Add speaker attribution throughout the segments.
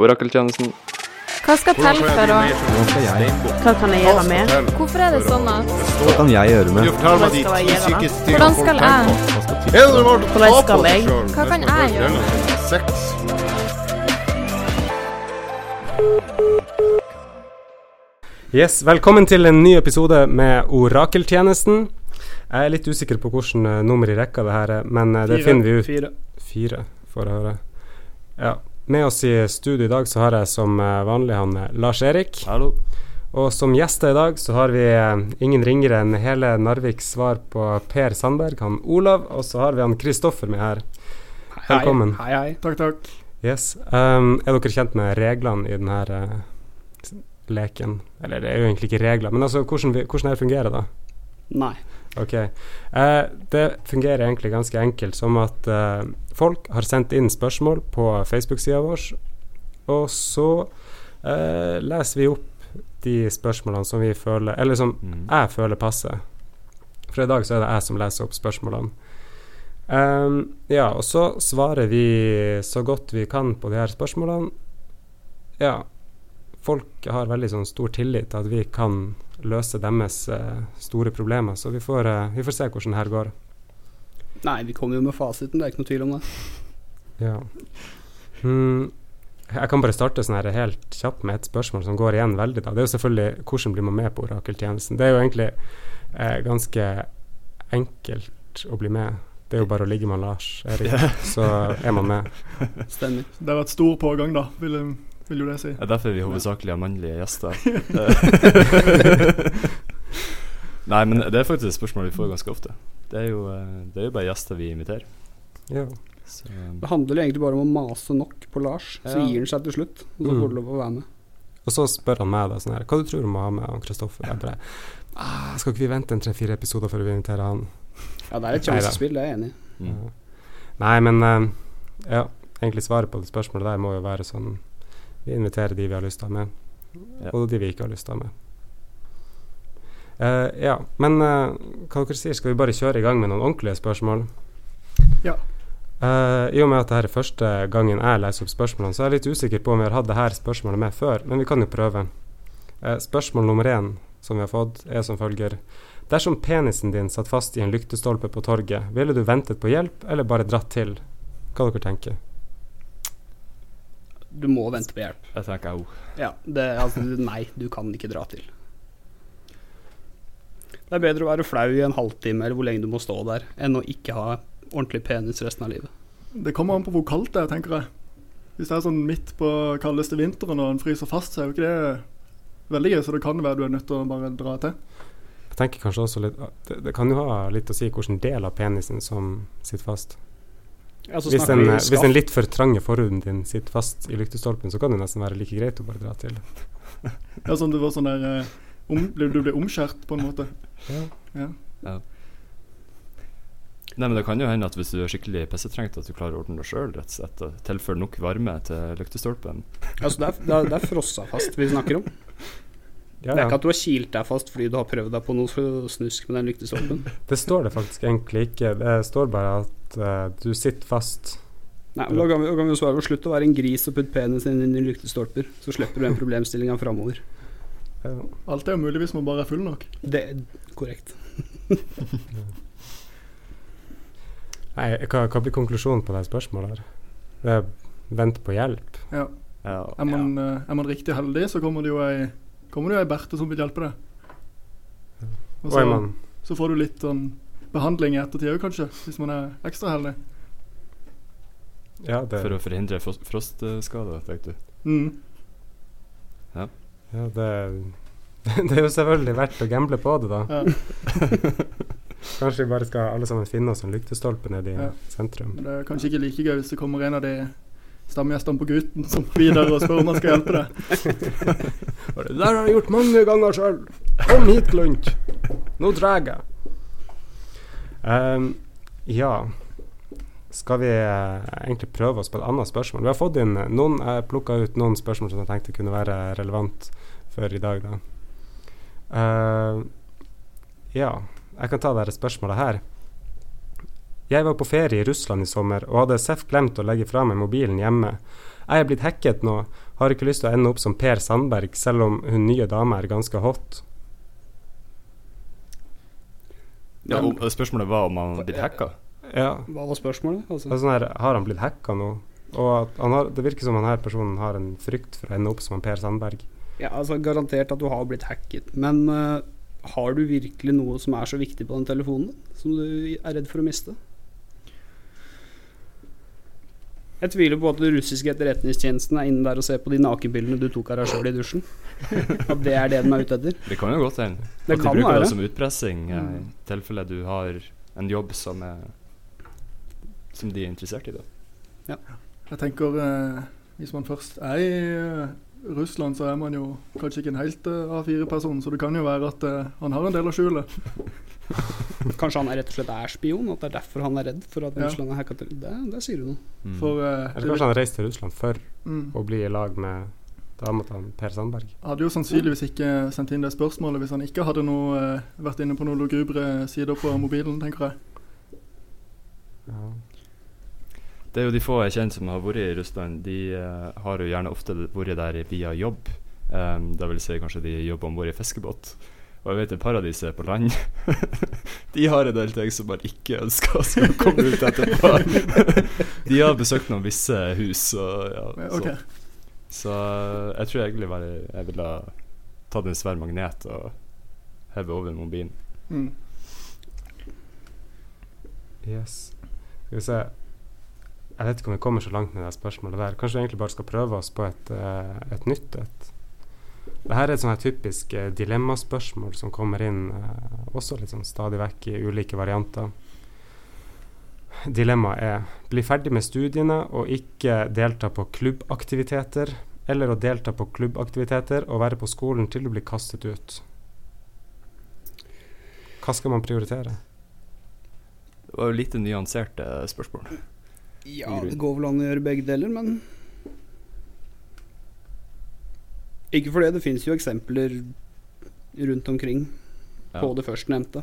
Speaker 1: Orakeltjenesten.
Speaker 2: Hva skal til for å
Speaker 3: Hva skal jeg,
Speaker 2: Hva kan jeg gjøre med? Hvorfor er det sånn at
Speaker 3: hva kan jeg gjøre med?
Speaker 2: Hvordan skal jeg?
Speaker 4: Hvordan
Speaker 2: skal jeg? Hva kan jeg gjøre?
Speaker 4: Sex.
Speaker 5: Yes, Velkommen til en ny episode med Orakeltjenesten. Jeg er litt usikker på hvilket nummer i rekka det her er, men eh, det finner vi ut. Fire. får jeg høre. Ja. Med oss i studio i dag så har jeg som eh, vanlig han eh, Lars-Erik.
Speaker 3: Hallo.
Speaker 5: Og som gjester i dag så har vi eh, ingen ringere enn hele Narviks svar på Per Sandberg, han Olav, og så har vi han Kristoffer med her. Velkommen.
Speaker 6: Hei, hei. Takk, takk.
Speaker 5: Yes. Um, er dere kjent med reglene i denne eh, s- leken? Eller det er jo egentlig ikke regler, men altså hvordan, vi, hvordan det her fungerer, da?
Speaker 6: Nei.
Speaker 5: Ok. Eh, det fungerer egentlig ganske enkelt som at eh, folk har sendt inn spørsmål på Facebook-sida vår, og så eh, leser vi opp de spørsmålene som vi føler Eller som jeg føler passer. For i dag så er det jeg som leser opp spørsmålene. Ehm, ja, og så svarer vi så godt vi kan på de her spørsmålene. Ja, folk har veldig sånn stor tillit til at vi kan løse deres eh, store problemer, så vi får, eh, vi får se hvordan det her går.
Speaker 6: Nei, vi kommer jo med fasiten, det er ikke noe tvil om det.
Speaker 5: Ja. Mm, jeg kan bare starte sånn her helt kjapt med et spørsmål som går igjen veldig. da. Det er jo selvfølgelig hvordan blir man med på orakeltjenesten. Det er jo egentlig eh, ganske enkelt å bli med. Det er jo bare å ligge med Lars Erik, så er man med.
Speaker 6: Stemmer.
Speaker 7: Det har vært stor pågang, da, vil, vil jo det si.
Speaker 3: Det er derfor vi hovedsakelig har mannlige gjester. Nei, men det er faktisk et spørsmål vi får ganske ofte. Det er jo, eh, det er jo bare gjester vi inviterer.
Speaker 5: Ja.
Speaker 3: Så, eh,
Speaker 6: Det handler jo egentlig bare om å mase nok på Lars, så
Speaker 3: Ja.
Speaker 6: gir han seg til slutt. Og så
Speaker 5: Mm.
Speaker 6: får du lov å være med.
Speaker 5: Og så spør han meg da sånn her Hva du tror du må ha med han Kristoffer? Jeg bare ah, Skal ikke vi vente en tre-fire episoder før vi inviterer han?
Speaker 6: Ja, det er et
Speaker 5: Neida.
Speaker 6: sjansespill, det er jeg enig i.
Speaker 3: mm.
Speaker 5: Nei, men eh, Ja, egentlig svaret på det spørsmålet der må jo være sånn Vi inviterer de vi har lyst til å ha med,
Speaker 3: Ja.
Speaker 5: og de vi ikke har lyst til å ha med. Eh, ja, men eh, hva dere sier, skal vi bare kjøre i gang med noen ordentlige spørsmål?
Speaker 7: Ja.
Speaker 5: Eh, I og med at dette er første gangen jeg leser opp spørsmålene, så er jeg litt usikker på om vi har hatt dette spørsmålet med før, men vi kan jo prøve. Eh, spørsmål nummer én som vi har fått, er som følger. Dersom penisen din satt fast i en lyktestolpe på torget, ville du ventet på hjelp eller bare dratt til? Hva dere tenker?
Speaker 6: Du må vente på hjelp.
Speaker 3: Jeg tenker au.
Speaker 6: Ja, det, altså, du- nei, du kan ikke dra til. Det er bedre å være flau i en halvtime eller hvor lenge du må stå der, enn å ikke ha ordentlig penis resten av livet.
Speaker 7: Det kommer an på hvor kaldt det er, tenker jeg. Hvis det er sånn midt på kaldeste vinteren og en fryser fast, så er jo ikke det veldig gøy. Så det kan være du er nødt til å bare dra til.
Speaker 5: Jeg tenker kanskje også litt ah, Det, det kan jo ha litt å si hvilken del av penisen som sitter fast.
Speaker 6: Ja, så
Speaker 5: Hvis
Speaker 6: Altså, snakker
Speaker 5: den,
Speaker 6: vi
Speaker 5: eh, hvis
Speaker 6: skaft.
Speaker 5: den litt for trange forhuden din sitter fast i lyktestolpen, så kan det nesten være like greit å bare dra til.
Speaker 7: Ja, sånn du var sånn der eh, om, Du du ble omskjært, på en måte.
Speaker 3: Nei, men det kan jo hende at hvis du er skikkelig pissetrengt, at du klarer å ordne deg sjøl, rett og slett. og Tilføre nok varme til lyktestolpen.
Speaker 6: Altså, det, er, det, er, det er frossa fast vi snakker om.
Speaker 5: Ja,
Speaker 6: Det er
Speaker 5: ja.
Speaker 6: ikke at du har kilt deg fast fordi du har prøvd deg på noe snusk med den lyktestolpen.
Speaker 5: Det står det faktisk egentlig ikke. Det står bare at eh, du sitter fast.
Speaker 6: Nei, men da kan vi, da kan vi jo svare på slutt å være en gris og putte penisen din i lyktestolper. Så slipper du den problemstillinga framover.
Speaker 5: Ja.
Speaker 7: Alt er jo mulig hvis man bare er full nok.
Speaker 6: Det er korrekt.
Speaker 5: Nei, hva, hva blir konklusjonen på det spørsmålet her? Det er vent på hjelp.
Speaker 7: Ja.
Speaker 3: Ja,
Speaker 7: Er man, eh, er man riktig heldig, så kommer det jo ei, kommer det jo ei Berthe som vil hjelpe deg. Og
Speaker 5: Og
Speaker 7: så,
Speaker 5: er man
Speaker 7: så får du litt sånn behandling i ettertid òg, kanskje, hvis man er ekstra heldig.
Speaker 5: Ja, det,
Speaker 3: for å forhindre fros- frostskader, tenkte du.
Speaker 7: Mm.
Speaker 5: ja, det, det er jo selvfølgelig verdt å gamble på det, da.
Speaker 7: Ja.
Speaker 5: Kanskje vi bare skal alle sammen finne oss en lyktestolpe nede i
Speaker 7: Ja.
Speaker 5: sentrum.
Speaker 7: Men det er kanskje ikke like gøy hvis det kommer en av de stamgjestene på gutten som videre og spør om han skal hjelpe deg.
Speaker 5: Det der har jeg gjort mange ganger sjøl. Kom hit, Glunt. Nå drar jeg. Ehm, ja Skal vi eh, egentlig prøve oss på et annet spørsmål? Vi har fått inn eh, noen Jeg plukka ut noen spørsmål som jeg tenkte kunne være relevant for i dag, da. Ehm, ja, jeg kan ta dette spørsmålet her. Jeg var på ferie i Russland i sommer og hadde seff glemt å legge fra meg mobilen hjemme. Jeg er blitt hacket nå, har ikke lyst til å ende opp som Per Sandberg, selv om hun nye dama er ganske hot.
Speaker 3: Ja, og spørsmålet var om han hadde blitt hacka.
Speaker 5: Ja,
Speaker 6: Hva var spørsmålet?
Speaker 5: det
Speaker 6: Altså?
Speaker 5: er sånn her, har han blitt hacka nå? Og at han har, det virker som han her personen har en frykt for å ende opp som han Per Sandberg.
Speaker 6: Ja, altså Garantert at du har blitt hacket. Men eh, har du virkelig noe som er så viktig på den telefonen din, som du er redd for å miste? Jeg tviler på at den russiske etterretningstjenesten er inne der og ser på de nakenbildene du tok av deg sjøl i dusjen. At det er det den er ute etter.
Speaker 3: Det kan jo godt hende. At
Speaker 6: Det
Speaker 3: de
Speaker 6: kan
Speaker 3: bruker
Speaker 6: være.
Speaker 3: det som utpressing eh, i tilfelle du har en jobb som er Som de er interessert i, da.
Speaker 7: Jeg tenker eh, hvis man først er i eh, Russland, så er man jo kanskje ikke en helt eh, A4-person, så det kan jo være at eh, han har en del å skjule.
Speaker 6: Kanskje han er rett og slett er spion, at det er derfor han er redd for at
Speaker 7: Ja.
Speaker 6: Russland er hacka til. Det, det sier du noe.
Speaker 3: Mm.
Speaker 7: For eh,
Speaker 5: Eller kanskje han reiste til Russland for
Speaker 7: mm,
Speaker 5: å bli i lag med dama til han Per Sandberg.
Speaker 7: hadde jo sannsynligvis ikke sendt inn det spørsmålet hvis han ikke hadde noe, eh, vært inne på noen lugubre sider på mobilen, tenker jeg.
Speaker 5: Ja.
Speaker 3: Det er jo de få jeg kjenner som har vært i Russland, de eh, har jo gjerne ofte vært der via jobb. Um, det vil si kanskje de jobber om bord i fiskebåt. Og jeg vet et par av de som er på land, de har en del ting som man ikke ønsker skal komme ut etterpå. de har besøkt noen visse hus, og ja,
Speaker 7: Men,
Speaker 3: så.
Speaker 7: ok.
Speaker 3: Så eh, jeg tror egentlig bare jeg ville ha tatt en svær magnet og hevet over mobilen.
Speaker 7: Mm.
Speaker 5: Yes. Skal vi se Jeg vet ikke om vi kommer så langt med det spørsmålet der. Kanskje vi egentlig bare skal prøve oss på et, eh, et nytt et. Dette er et sånn her typisk eh, dilemmaspørsmål som kommer inn eh, også litt sånn stadig vekk i ulike varianter. Dilemmaet er bli ferdig med studiene og ikke delta på klubbaktiviteter, eller å delta på klubbaktiviteter og være på skolen til du blir kastet ut. Hva skal man prioritere?
Speaker 3: Det var jo lite nyanserte spørsmål.
Speaker 6: Ja, det går vel an å gjøre begge deler, men Ikke for det, det finnes jo eksempler rundt omkring på
Speaker 3: Ja.
Speaker 6: det førstnevnte.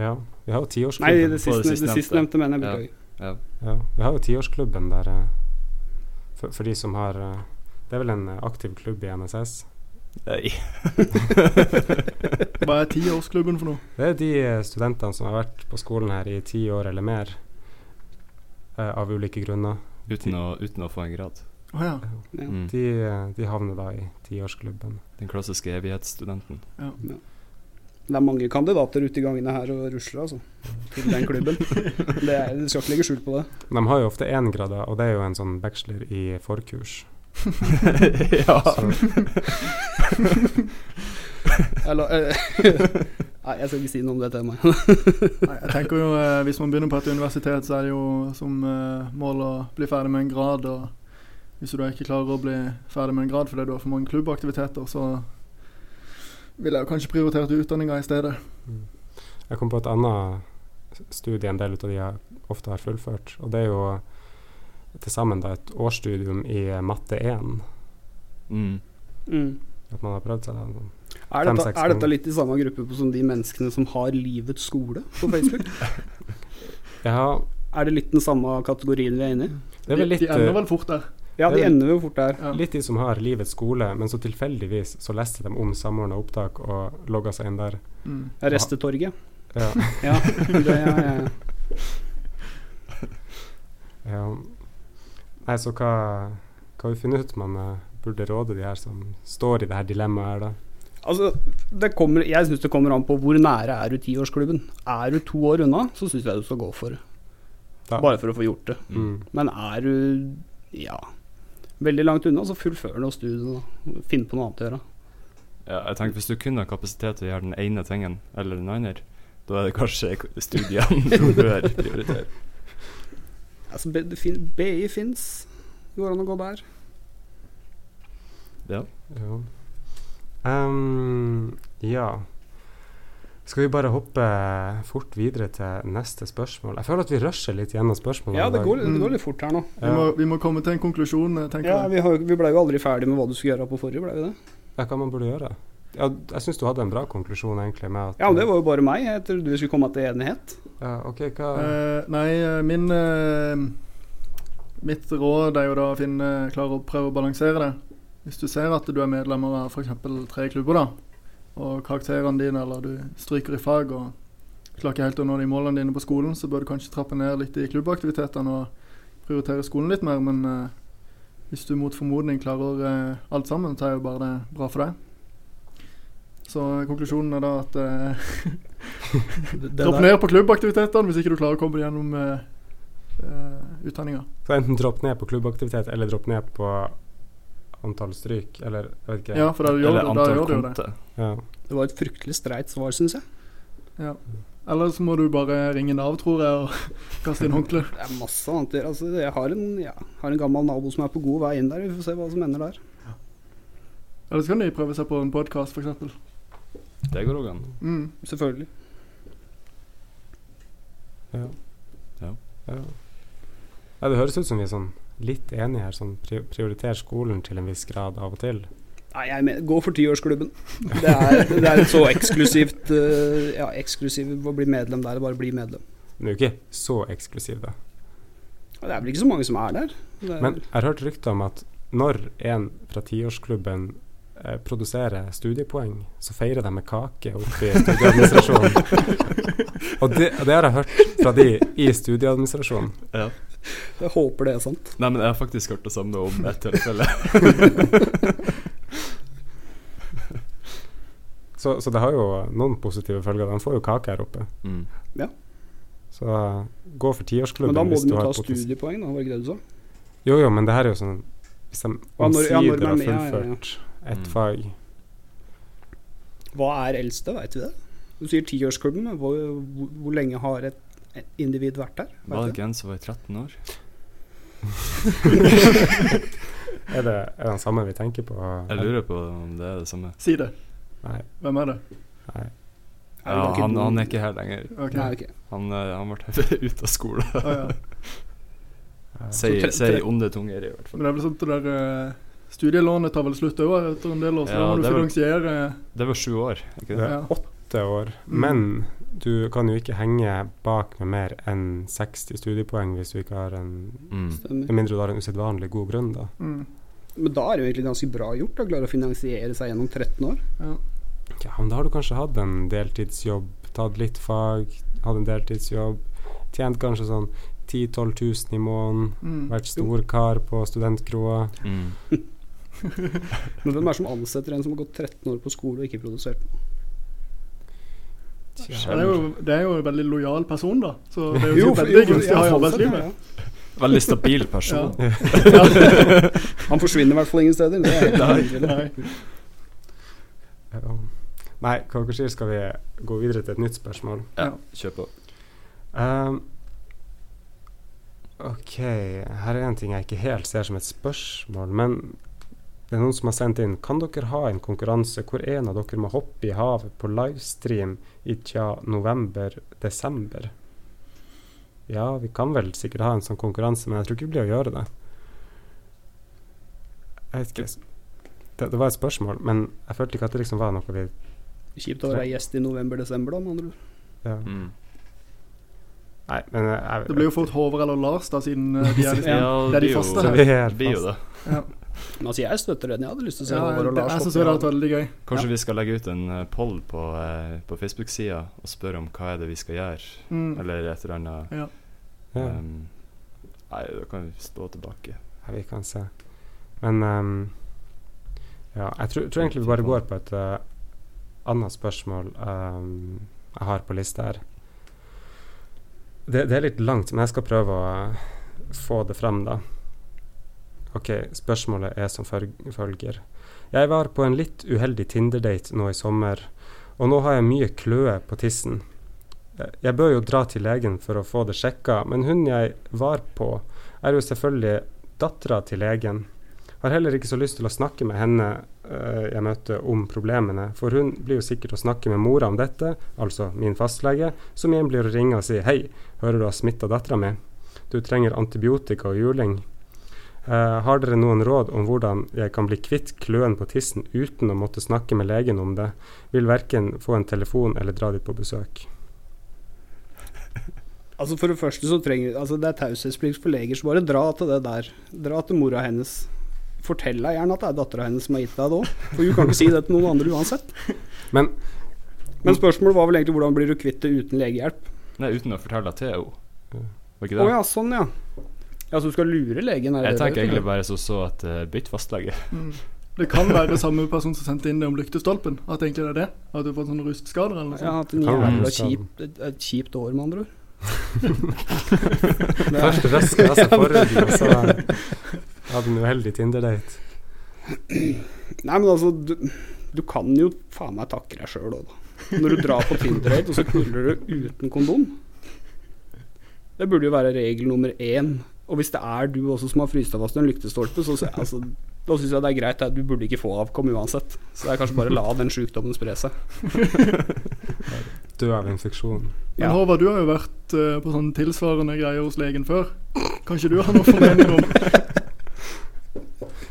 Speaker 5: Ja, vi har jo
Speaker 6: Nei,
Speaker 3: På
Speaker 5: tiårsklubben.
Speaker 6: det
Speaker 3: det
Speaker 6: sistne- det
Speaker 3: sistnevnte.
Speaker 6: sistnevnte, mener jeg.
Speaker 3: Ja.
Speaker 6: Beklager.
Speaker 5: Ja, vi har jo tiårsklubben der eh, for, for de som har eh, Det er vel en eh, aktiv klubb i NSS?
Speaker 3: Nei.
Speaker 7: Hva er tiårsklubben for noe?
Speaker 5: Det er de eh, studentene som har vært på skolen her i ti år eller mer, eh, av ulike grunner.
Speaker 3: Uten å, uten å få en grad.
Speaker 7: Å ja.
Speaker 6: Ja.
Speaker 3: Mm.
Speaker 5: De, eh, de havner da i tiårsklubben.
Speaker 3: Den klassiske evighetsstudenten.
Speaker 6: Det er mange kandidater ute i gangene her og rusler, altså. Til den klubben. Det er, du skal ikke legge skjul på det.
Speaker 5: De har jo ofte én grad, da, og det er jo en sånn bachelor i forkurs.
Speaker 3: ja.
Speaker 5: Så,
Speaker 6: Eller eh, Nei, jeg skal ikke si noe om det temaet.
Speaker 7: Nei, jeg tenker jo eh, Hvis man begynner på et universitet, så er det jo som eh, mål å bli ferdig med en grad. Og hvis du da ikke klarer å bli ferdig med en grad fordi du har for mange klubbaktiviteter, så ville jeg jo kanskje prioritert utdanninga i stedet.
Speaker 5: jeg kom på et annet studie en del ut av de jeg ofte har fullført, og det er jo til sammen da et årsstudium i eh, matte 1.
Speaker 3: Mm.
Speaker 6: Mm.
Speaker 5: At man har prøvd seg da. sånn.
Speaker 6: Er, dette,
Speaker 5: Fem-seks
Speaker 6: er dette
Speaker 5: ganger.
Speaker 6: litt i samme gruppe som de menneskene som har livets skole på Facebook?
Speaker 5: Ja,
Speaker 6: Er det litt den samme kategorien vi er inne i?
Speaker 5: det er vel
Speaker 7: de,
Speaker 5: litt,
Speaker 7: de ender
Speaker 5: eh,
Speaker 7: vel fort der.
Speaker 6: Ja,
Speaker 5: Mm. Det
Speaker 6: de
Speaker 5: er-
Speaker 6: ender jo fort der.
Speaker 7: Ja.
Speaker 5: litt de som har livets skole, men så tilfeldigvis så leste de om samordna opptak og logga seg inn der.
Speaker 7: Mm.
Speaker 6: Restetorget.
Speaker 5: Ja,
Speaker 6: Ja, det eh, er jeg.
Speaker 5: ja. Nei, så hva, hva vi finner ut man eh, burde råde de her som står i det her dilemmaet her, da?
Speaker 6: Altså, det kommer, jeg syns det kommer an på hvor nære er du tiårsklubben. Er du to år unna, så syns jeg du skal gå for det.
Speaker 5: Ja.
Speaker 6: Bare for å få gjort det.
Speaker 5: Mm.
Speaker 6: Men er du ja, veldig langt unna, så fullfør nå studiene. da. Finn på noe annet å gjøre.
Speaker 3: Ja, jeg tenker Hvis du kun har kapasitet til å gjøre den ene tingen eller den andre, da er det kanskje studiene du bør prioritere.
Speaker 6: Altså, B- det fin- BI fins. Det går an å gå der.
Speaker 3: Ja.
Speaker 5: Ja. Ehm, Mm, ja. Skal vi bare hoppe fort videre til neste spørl? Jeg føler at vi rusher litt gjennom spørsmålene.
Speaker 6: Ja,
Speaker 5: i
Speaker 6: det
Speaker 5: dag.
Speaker 6: går, det
Speaker 7: Mm.
Speaker 6: går litt fort her nå.
Speaker 7: Vi, må, vi må komme til en konklusjon, eh, tenker
Speaker 6: Ja,
Speaker 7: jeg.
Speaker 6: vi, har, jo- vi blei jo aldri ferdig med hva du skulle gjøre på forrige, blei vi det?
Speaker 5: Ja, hva man burde gjøre? ja, jeg syns du hadde en bra konklusjon, egentlig, med at
Speaker 6: Ja, men det var jo bare meg. Jeg trodde vi skulle komme til enighet.
Speaker 5: Ja, OK, hva
Speaker 7: Eh, nei, eh, min eh, Mitt råd er jo da å finne klare å prøve å balansere det. Hvis du ser at du er medlem av f.eks. tre klubber, da, og karakterene dine eller du stryker i fag og klarer ikke helt å nå de målene dine på skolen, så bør du kanskje trappe ned litt i klubbaktivitetene og prioritere skolen litt mer. Men eh, hvis du mot formodning klarer eh, alt sammen, så er jo bare det bra for deg. Så konklusjonen er da at eh,
Speaker 1: Det, det
Speaker 7: Dropp
Speaker 1: der-
Speaker 7: ned på klubbaktivitetene hvis ikke du klarer å komme deg gjennom eh, eh, utdanninga.
Speaker 5: Så enten dropp ned på klubbaktivitet, eller dropp ned på antall stryk, eller jeg vet ikke.
Speaker 7: Ja, for da gjør,
Speaker 3: Eller
Speaker 7: du, da
Speaker 3: antall
Speaker 7: gjør du jo det.
Speaker 3: konte.
Speaker 5: Ja.
Speaker 6: Det var et fryktelig streit svar, syns jeg.
Speaker 7: Eller så må du bare ringe Nav, tror jeg, og kaste inn håndkle.
Speaker 6: Det er masse annet å gjøre. Altså, jeg har en, ja, har en gammel nabo som er på god vei inn der. Vi får se hva som ender der.
Speaker 7: Eller så kan de prøve seg på en podkast, f.eks.
Speaker 3: Det går òg an.
Speaker 7: Mm.
Speaker 6: Selvfølgelig.
Speaker 5: Ja.
Speaker 3: Ja.
Speaker 5: ja. Nei, det høres ut som vi er sånn litt enige her, sånn pri prioriterer skolen til en viss grad av og til.
Speaker 6: Nei, jeg mener, gå for tiårsklubben. Det er, det er et så eksklusivt eh, Ja, eksklusivt å bli medlem der. Bare bli medlem.
Speaker 5: Men det er jo ikke så eksklusiv, da.
Speaker 6: Og det er vel ikke så mange som er der.
Speaker 7: Eh.
Speaker 6: Det er,
Speaker 5: Men jeg har hørt rykter om at når en fra tiårsklubben eh, produserer studiepoeng, så feirer de med kake oppe i studieadministrasjonen. og, det, og det har jeg hørt fra de i studieadministrasjonen.
Speaker 6: jeg håper det er sant.
Speaker 3: Nei, men jeg har faktisk hørt det samme om ett tilfelle.
Speaker 5: Så, så det har jo noen positive følger. De får jo kake her oppe.
Speaker 3: Mm.
Speaker 5: Så eh, gå for
Speaker 6: Men
Speaker 5: tiårsklubben.
Speaker 6: da må
Speaker 5: hvis
Speaker 6: de jo
Speaker 5: har
Speaker 6: ta
Speaker 5: potensial.
Speaker 6: studiepoeng, da, var det ikke det du sa?
Speaker 5: Jo, jo, men det her er jo sånn Hvis de
Speaker 6: Ja, når- ja,
Speaker 5: omsider
Speaker 6: når
Speaker 5: har
Speaker 6: man- ja, ja, ja.
Speaker 5: fullført et
Speaker 3: Mm.
Speaker 5: fag
Speaker 6: Hva er eldste, veit vi det? Du sier tiårsklubben, men hvor, hvor, hvor lenge har et et individ vært der?
Speaker 3: Var
Speaker 6: Vet du
Speaker 3: det ikke en som var i 13 år?
Speaker 5: Er det er det den samme vi tenker på?
Speaker 3: Jeg lurer på om det er det samme.
Speaker 7: Si det.
Speaker 5: Nei.
Speaker 7: Hvem er det?
Speaker 5: Nei.
Speaker 6: det
Speaker 3: Ja,
Speaker 6: ikke
Speaker 3: han,
Speaker 6: noen-
Speaker 3: han er ikke her lenger.
Speaker 7: Ok.
Speaker 6: Nei, ok.
Speaker 3: Han, eh, han ble ute av skole.
Speaker 7: Å, ja.
Speaker 5: Ja.
Speaker 3: Sier
Speaker 6: tre-
Speaker 3: sier
Speaker 6: tre-
Speaker 3: onde tunger, i hvert
Speaker 7: Men
Speaker 3: fall.
Speaker 7: det er vel sånn at det der eh, Studielånet tar vel slutt òg etter en del år, så
Speaker 3: Ja,
Speaker 7: da må du
Speaker 3: det er vel-
Speaker 7: finansiere eh,
Speaker 3: Det var sju år. Ikke
Speaker 5: Det
Speaker 3: det?
Speaker 5: er
Speaker 7: Ja.
Speaker 5: åtte år.
Speaker 7: Mm.
Speaker 5: Men du kan jo ikke henge bak med mer enn 60 studiepoeng hvis du ikke har en
Speaker 3: Mm.
Speaker 6: Stemmer.
Speaker 5: Med mindre du har en usedvanlig god grunn, da.
Speaker 7: mm.
Speaker 6: Men da er det jo egentlig ganske bra gjort å klare å finansiere seg gjennom 13 år.
Speaker 5: Ja, men da har du kanskje hatt en deltidsjobb, tatt litt fag, hatt en deltidsjobb, tjent kanskje sånn 10 000-12 000 i måneden,
Speaker 7: Mm.
Speaker 5: vært storkar på studentkroa.
Speaker 3: Mm.
Speaker 6: Men hvem er det som ansetter en som har gått 13 år på skole og ikke produsert?
Speaker 7: Ja, Det, er jo, det er jo en veldig lojal person, da. Så det er jo,
Speaker 6: Jo,
Speaker 7: sikkert
Speaker 6: for-
Speaker 7: veldig
Speaker 6: jo,
Speaker 7: gunstig å
Speaker 6: ja,
Speaker 7: ha i
Speaker 6: sånn sett,
Speaker 7: arbeidslivet.
Speaker 6: ja,
Speaker 3: Veldig stabil person.
Speaker 6: ja. Han forsvinner i hvert fall ingen steder. Det er Nei.
Speaker 7: Nei.
Speaker 5: Ja. Eh, Nei, hva dere sier, skal vi gå videre til et nytt spørsmål?
Speaker 3: Ja, kjør på.
Speaker 5: Ehm, OK, her er en ting jeg ikke helt ser som et spørsmål, men det er noen som har sendt inn Kan dere ha en konkurranse hvor en av dere må hoppe i havet på livestream i tja november-desember? Ja, vi kan vel sikkert ha en sånn konkurranse, men jeg tror ikke vi blir å gjøre det. Jeg vet ikke. Det, det var et spørsmål, men jeg følte ikke at det liksom var noe vi
Speaker 6: Kjipt å være gjest i november-desember, da, med andre ord.
Speaker 5: ja.
Speaker 3: Mm.
Speaker 5: Nei, men jeg, jeg,
Speaker 7: Det blir jo fort Håvard eller Lars, da, siden eh, de er liksom
Speaker 3: Ja,
Speaker 7: det er de
Speaker 3: blir jo-
Speaker 7: faste
Speaker 5: Så
Speaker 7: her.
Speaker 5: vi er
Speaker 3: Det blir jo
Speaker 5: fast.
Speaker 3: det.
Speaker 6: Men altså, jeg støtter den. Jeg hadde lyst til å se
Speaker 7: Ja,
Speaker 6: Håvard og
Speaker 7: det, jeg
Speaker 6: Lars
Speaker 7: syns
Speaker 6: hoppe i
Speaker 7: det hadde
Speaker 6: havet.
Speaker 7: vært veldig gøy.
Speaker 3: Kanskje
Speaker 6: Ja.
Speaker 3: vi skal legge ut en eh, poll på, eh, på Facebook-sida og spørre om hva er det vi skal gjøre,
Speaker 7: Mm.
Speaker 3: eller et eller annet.
Speaker 5: Ja.
Speaker 3: ehm, nei, da kan vi stå tilbake.
Speaker 5: Ja, vi kan se. Men ehm, ja, jeg tror, tror egentlig vi bare går på et eh, annet spørsmål ehm, jeg har på lista her. Det, det er litt langt, men jeg skal prøve å eh, få det frem, da. OK, spørsmålet er som følg- følger. Jeg var på en litt uheldig Tinder-date nå i sommer, og nå har jeg mye kløe på tissen. Eh, Jeg bør jo dra til legen for å få det sjekka, men hun jeg var på, er jo selvfølgelig dattera til legen. Har heller ikke så lyst til å snakke med henne eh, jeg møter om problemene, for hun blir jo sikkert å snakke med mora om dette, altså min fastlege, som igjen blir å ringe og si hei, hører du har smitta dattera mi? Du trenger antibiotika og juling. Eh, har dere noen råd om hvordan jeg kan bli kvitt kløen på tissen uten å måtte snakke med legen om det? Vil verken få en telefon eller dra dit på besøk.
Speaker 6: Altså For det første så trenger altså Det er taushetsplikt for leger, så bare dra til det der. Dra til mora hennes. Fortell henne gjerne at det er dattera hennes som har gitt deg det òg, for hun kan ikke si det til noen andre uansett.
Speaker 5: Men,
Speaker 6: Men spørsmålet var vel egentlig hvordan blir du kvitt det uten legehjelp?
Speaker 3: Nei, uten å fortelle det til henne. Var
Speaker 6: Å
Speaker 3: ikke det?
Speaker 6: ja, sånn ja. Ja, Så du skal lure legen? Er det
Speaker 3: Jeg
Speaker 6: det du
Speaker 3: tenker egentlig
Speaker 6: tenker?
Speaker 3: bare så så at eh, bytt fastlege.
Speaker 7: Mm. Det kan være samme person som sendte inn det om lyktestolpen. At egentlig det er det. At du har fått sånne rustskader eller noe
Speaker 6: Ja,
Speaker 7: sånt.
Speaker 6: at en
Speaker 5: Det kan være
Speaker 6: jævla
Speaker 5: en
Speaker 3: sånn.
Speaker 5: skade.
Speaker 6: kjipt, et, et kjipt år, med andre ord.
Speaker 5: Først røsker jeg seg forhuden, altså, og så hadde en uheldig Tinder-date.
Speaker 6: Nei, men altså, du, du kan jo faen meg takke deg sjøl òg, da. Når du drar på Tinder-date, og så knuller du uten kondom. Det burde jo være regel nummer én. Og hvis det er du også som har fryst deg fast i en lyktestolpe, så så- altså, da syns jeg det er greit. da. Du burde ikke få avkom uansett. Så det er kanskje bare å la den sjukdommen spre seg.
Speaker 5: Dø av infeksjon.
Speaker 7: Men
Speaker 6: Ja.
Speaker 7: Håvard, du har jo vært eh, på sånne tilsvarende greier hos legen før. Kanskje du har noe formening om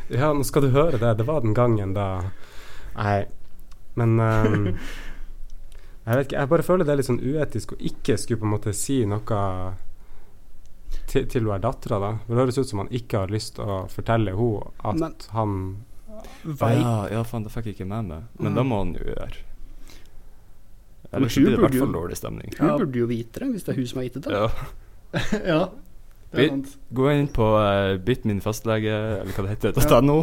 Speaker 5: Ja, nå skal du høre det. Det var den gangen da Nei. Men ehm, Jeg vet ikke. Jeg bare føler det er litt sånn uetisk å ikke skulle på en måte si noe til, til hun er dattera, da. For Det høres ut som han ikke har lyst til å fortelle henne at
Speaker 6: Men-
Speaker 5: han
Speaker 3: Ah,
Speaker 6: Vei.
Speaker 3: ja, ja, faen, det fikk jeg ikke med meg. Men
Speaker 6: Mm.
Speaker 3: det må han jo gjøre.
Speaker 6: Men
Speaker 3: Ellers så blir
Speaker 6: hun
Speaker 3: det i
Speaker 6: burde
Speaker 3: hvert fall
Speaker 6: jo-
Speaker 3: dårlig stemning.
Speaker 6: Hun burde jo vite det, hvis det er hun som har gitt det til deg.
Speaker 3: Ja.
Speaker 7: Ja, det
Speaker 3: Vi-
Speaker 7: er sant.
Speaker 3: Gå inn på uh, bytt min fastlege, eller hva det heter, .no.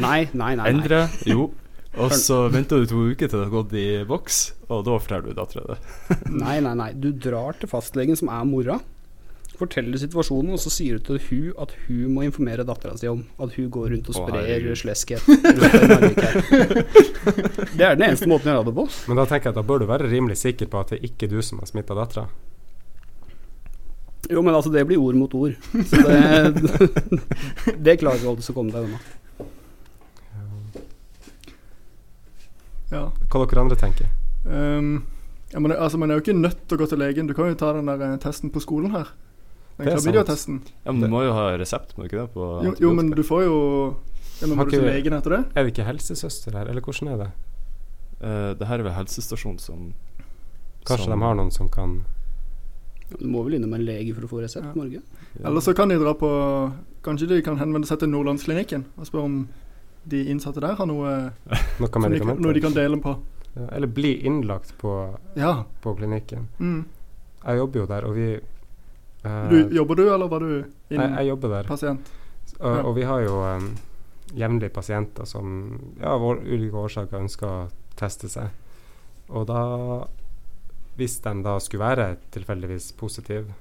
Speaker 6: Nei, nei, nei. nei.
Speaker 3: Endre. Jo. Og så venter du to uker til det har gått i boks, og da forteller du dattera det.
Speaker 6: Nei, nei, nei. Du drar til fastlegen, som er mora. Forteller situasjonen, og så sier du til hun at hun må informere dattera si om at hun går rundt og
Speaker 3: Å,
Speaker 6: sprer
Speaker 3: herregud.
Speaker 6: sleskhet. rundt i Narvik her. Det er den eneste måten jeg gjør det på.
Speaker 5: Men da tenker jeg at da bør du være rimelig sikker på at det er ikke du som har smitta dattera.
Speaker 6: Jo, men altså, det blir ord mot ord. Så det, det klarer du aldri å komme deg unna.
Speaker 7: Ja.
Speaker 5: Hva dere andre tenker.
Speaker 7: Ehm, ja, men, det- altså, man er jo ikke nødt til å gå til legen. Du kan jo ta den der eh, testen på skolen her.
Speaker 5: Det
Speaker 7: Den
Speaker 5: er sant.
Speaker 7: klamydia-testen.
Speaker 3: Ja, men du må jo ha resept, må du ikke det? På
Speaker 7: Jo, jo, men du får jo ja, men
Speaker 5: Har
Speaker 7: Må du til
Speaker 5: ikke-
Speaker 7: legen etter det?
Speaker 5: Er det ikke helsesøster her, eller hvordan er det?
Speaker 3: Eh, det her er vel helsestasjonen som
Speaker 5: Kanskje de har noen som kan
Speaker 6: Du må vel innom en lege for å få resept,
Speaker 7: Ja.
Speaker 6: Norge?
Speaker 7: Eller så kan de dra på Kanskje de kan henvende seg til Nordlandsklinikken og spørre om de innsatte der har noe,
Speaker 5: noe
Speaker 7: som de, kan- noe de kan
Speaker 5: medikamenter?
Speaker 7: dele på.
Speaker 5: Ja, eller bli innlagt på,
Speaker 7: Ja.
Speaker 5: på klinikken.
Speaker 7: Mm.
Speaker 5: Jeg jobber jo der, og vi eh,
Speaker 7: Du, jobber du, eller var du
Speaker 5: jeg,
Speaker 7: inn
Speaker 5: jeg jobber der,
Speaker 7: pasient?
Speaker 5: og,
Speaker 7: ja.
Speaker 5: og vi har jo um, jevnlig pasienter som ja, av ul- ulike årsaker ønsker å teste seg. Og da, hvis de da skulle være tilfeldigvis positive,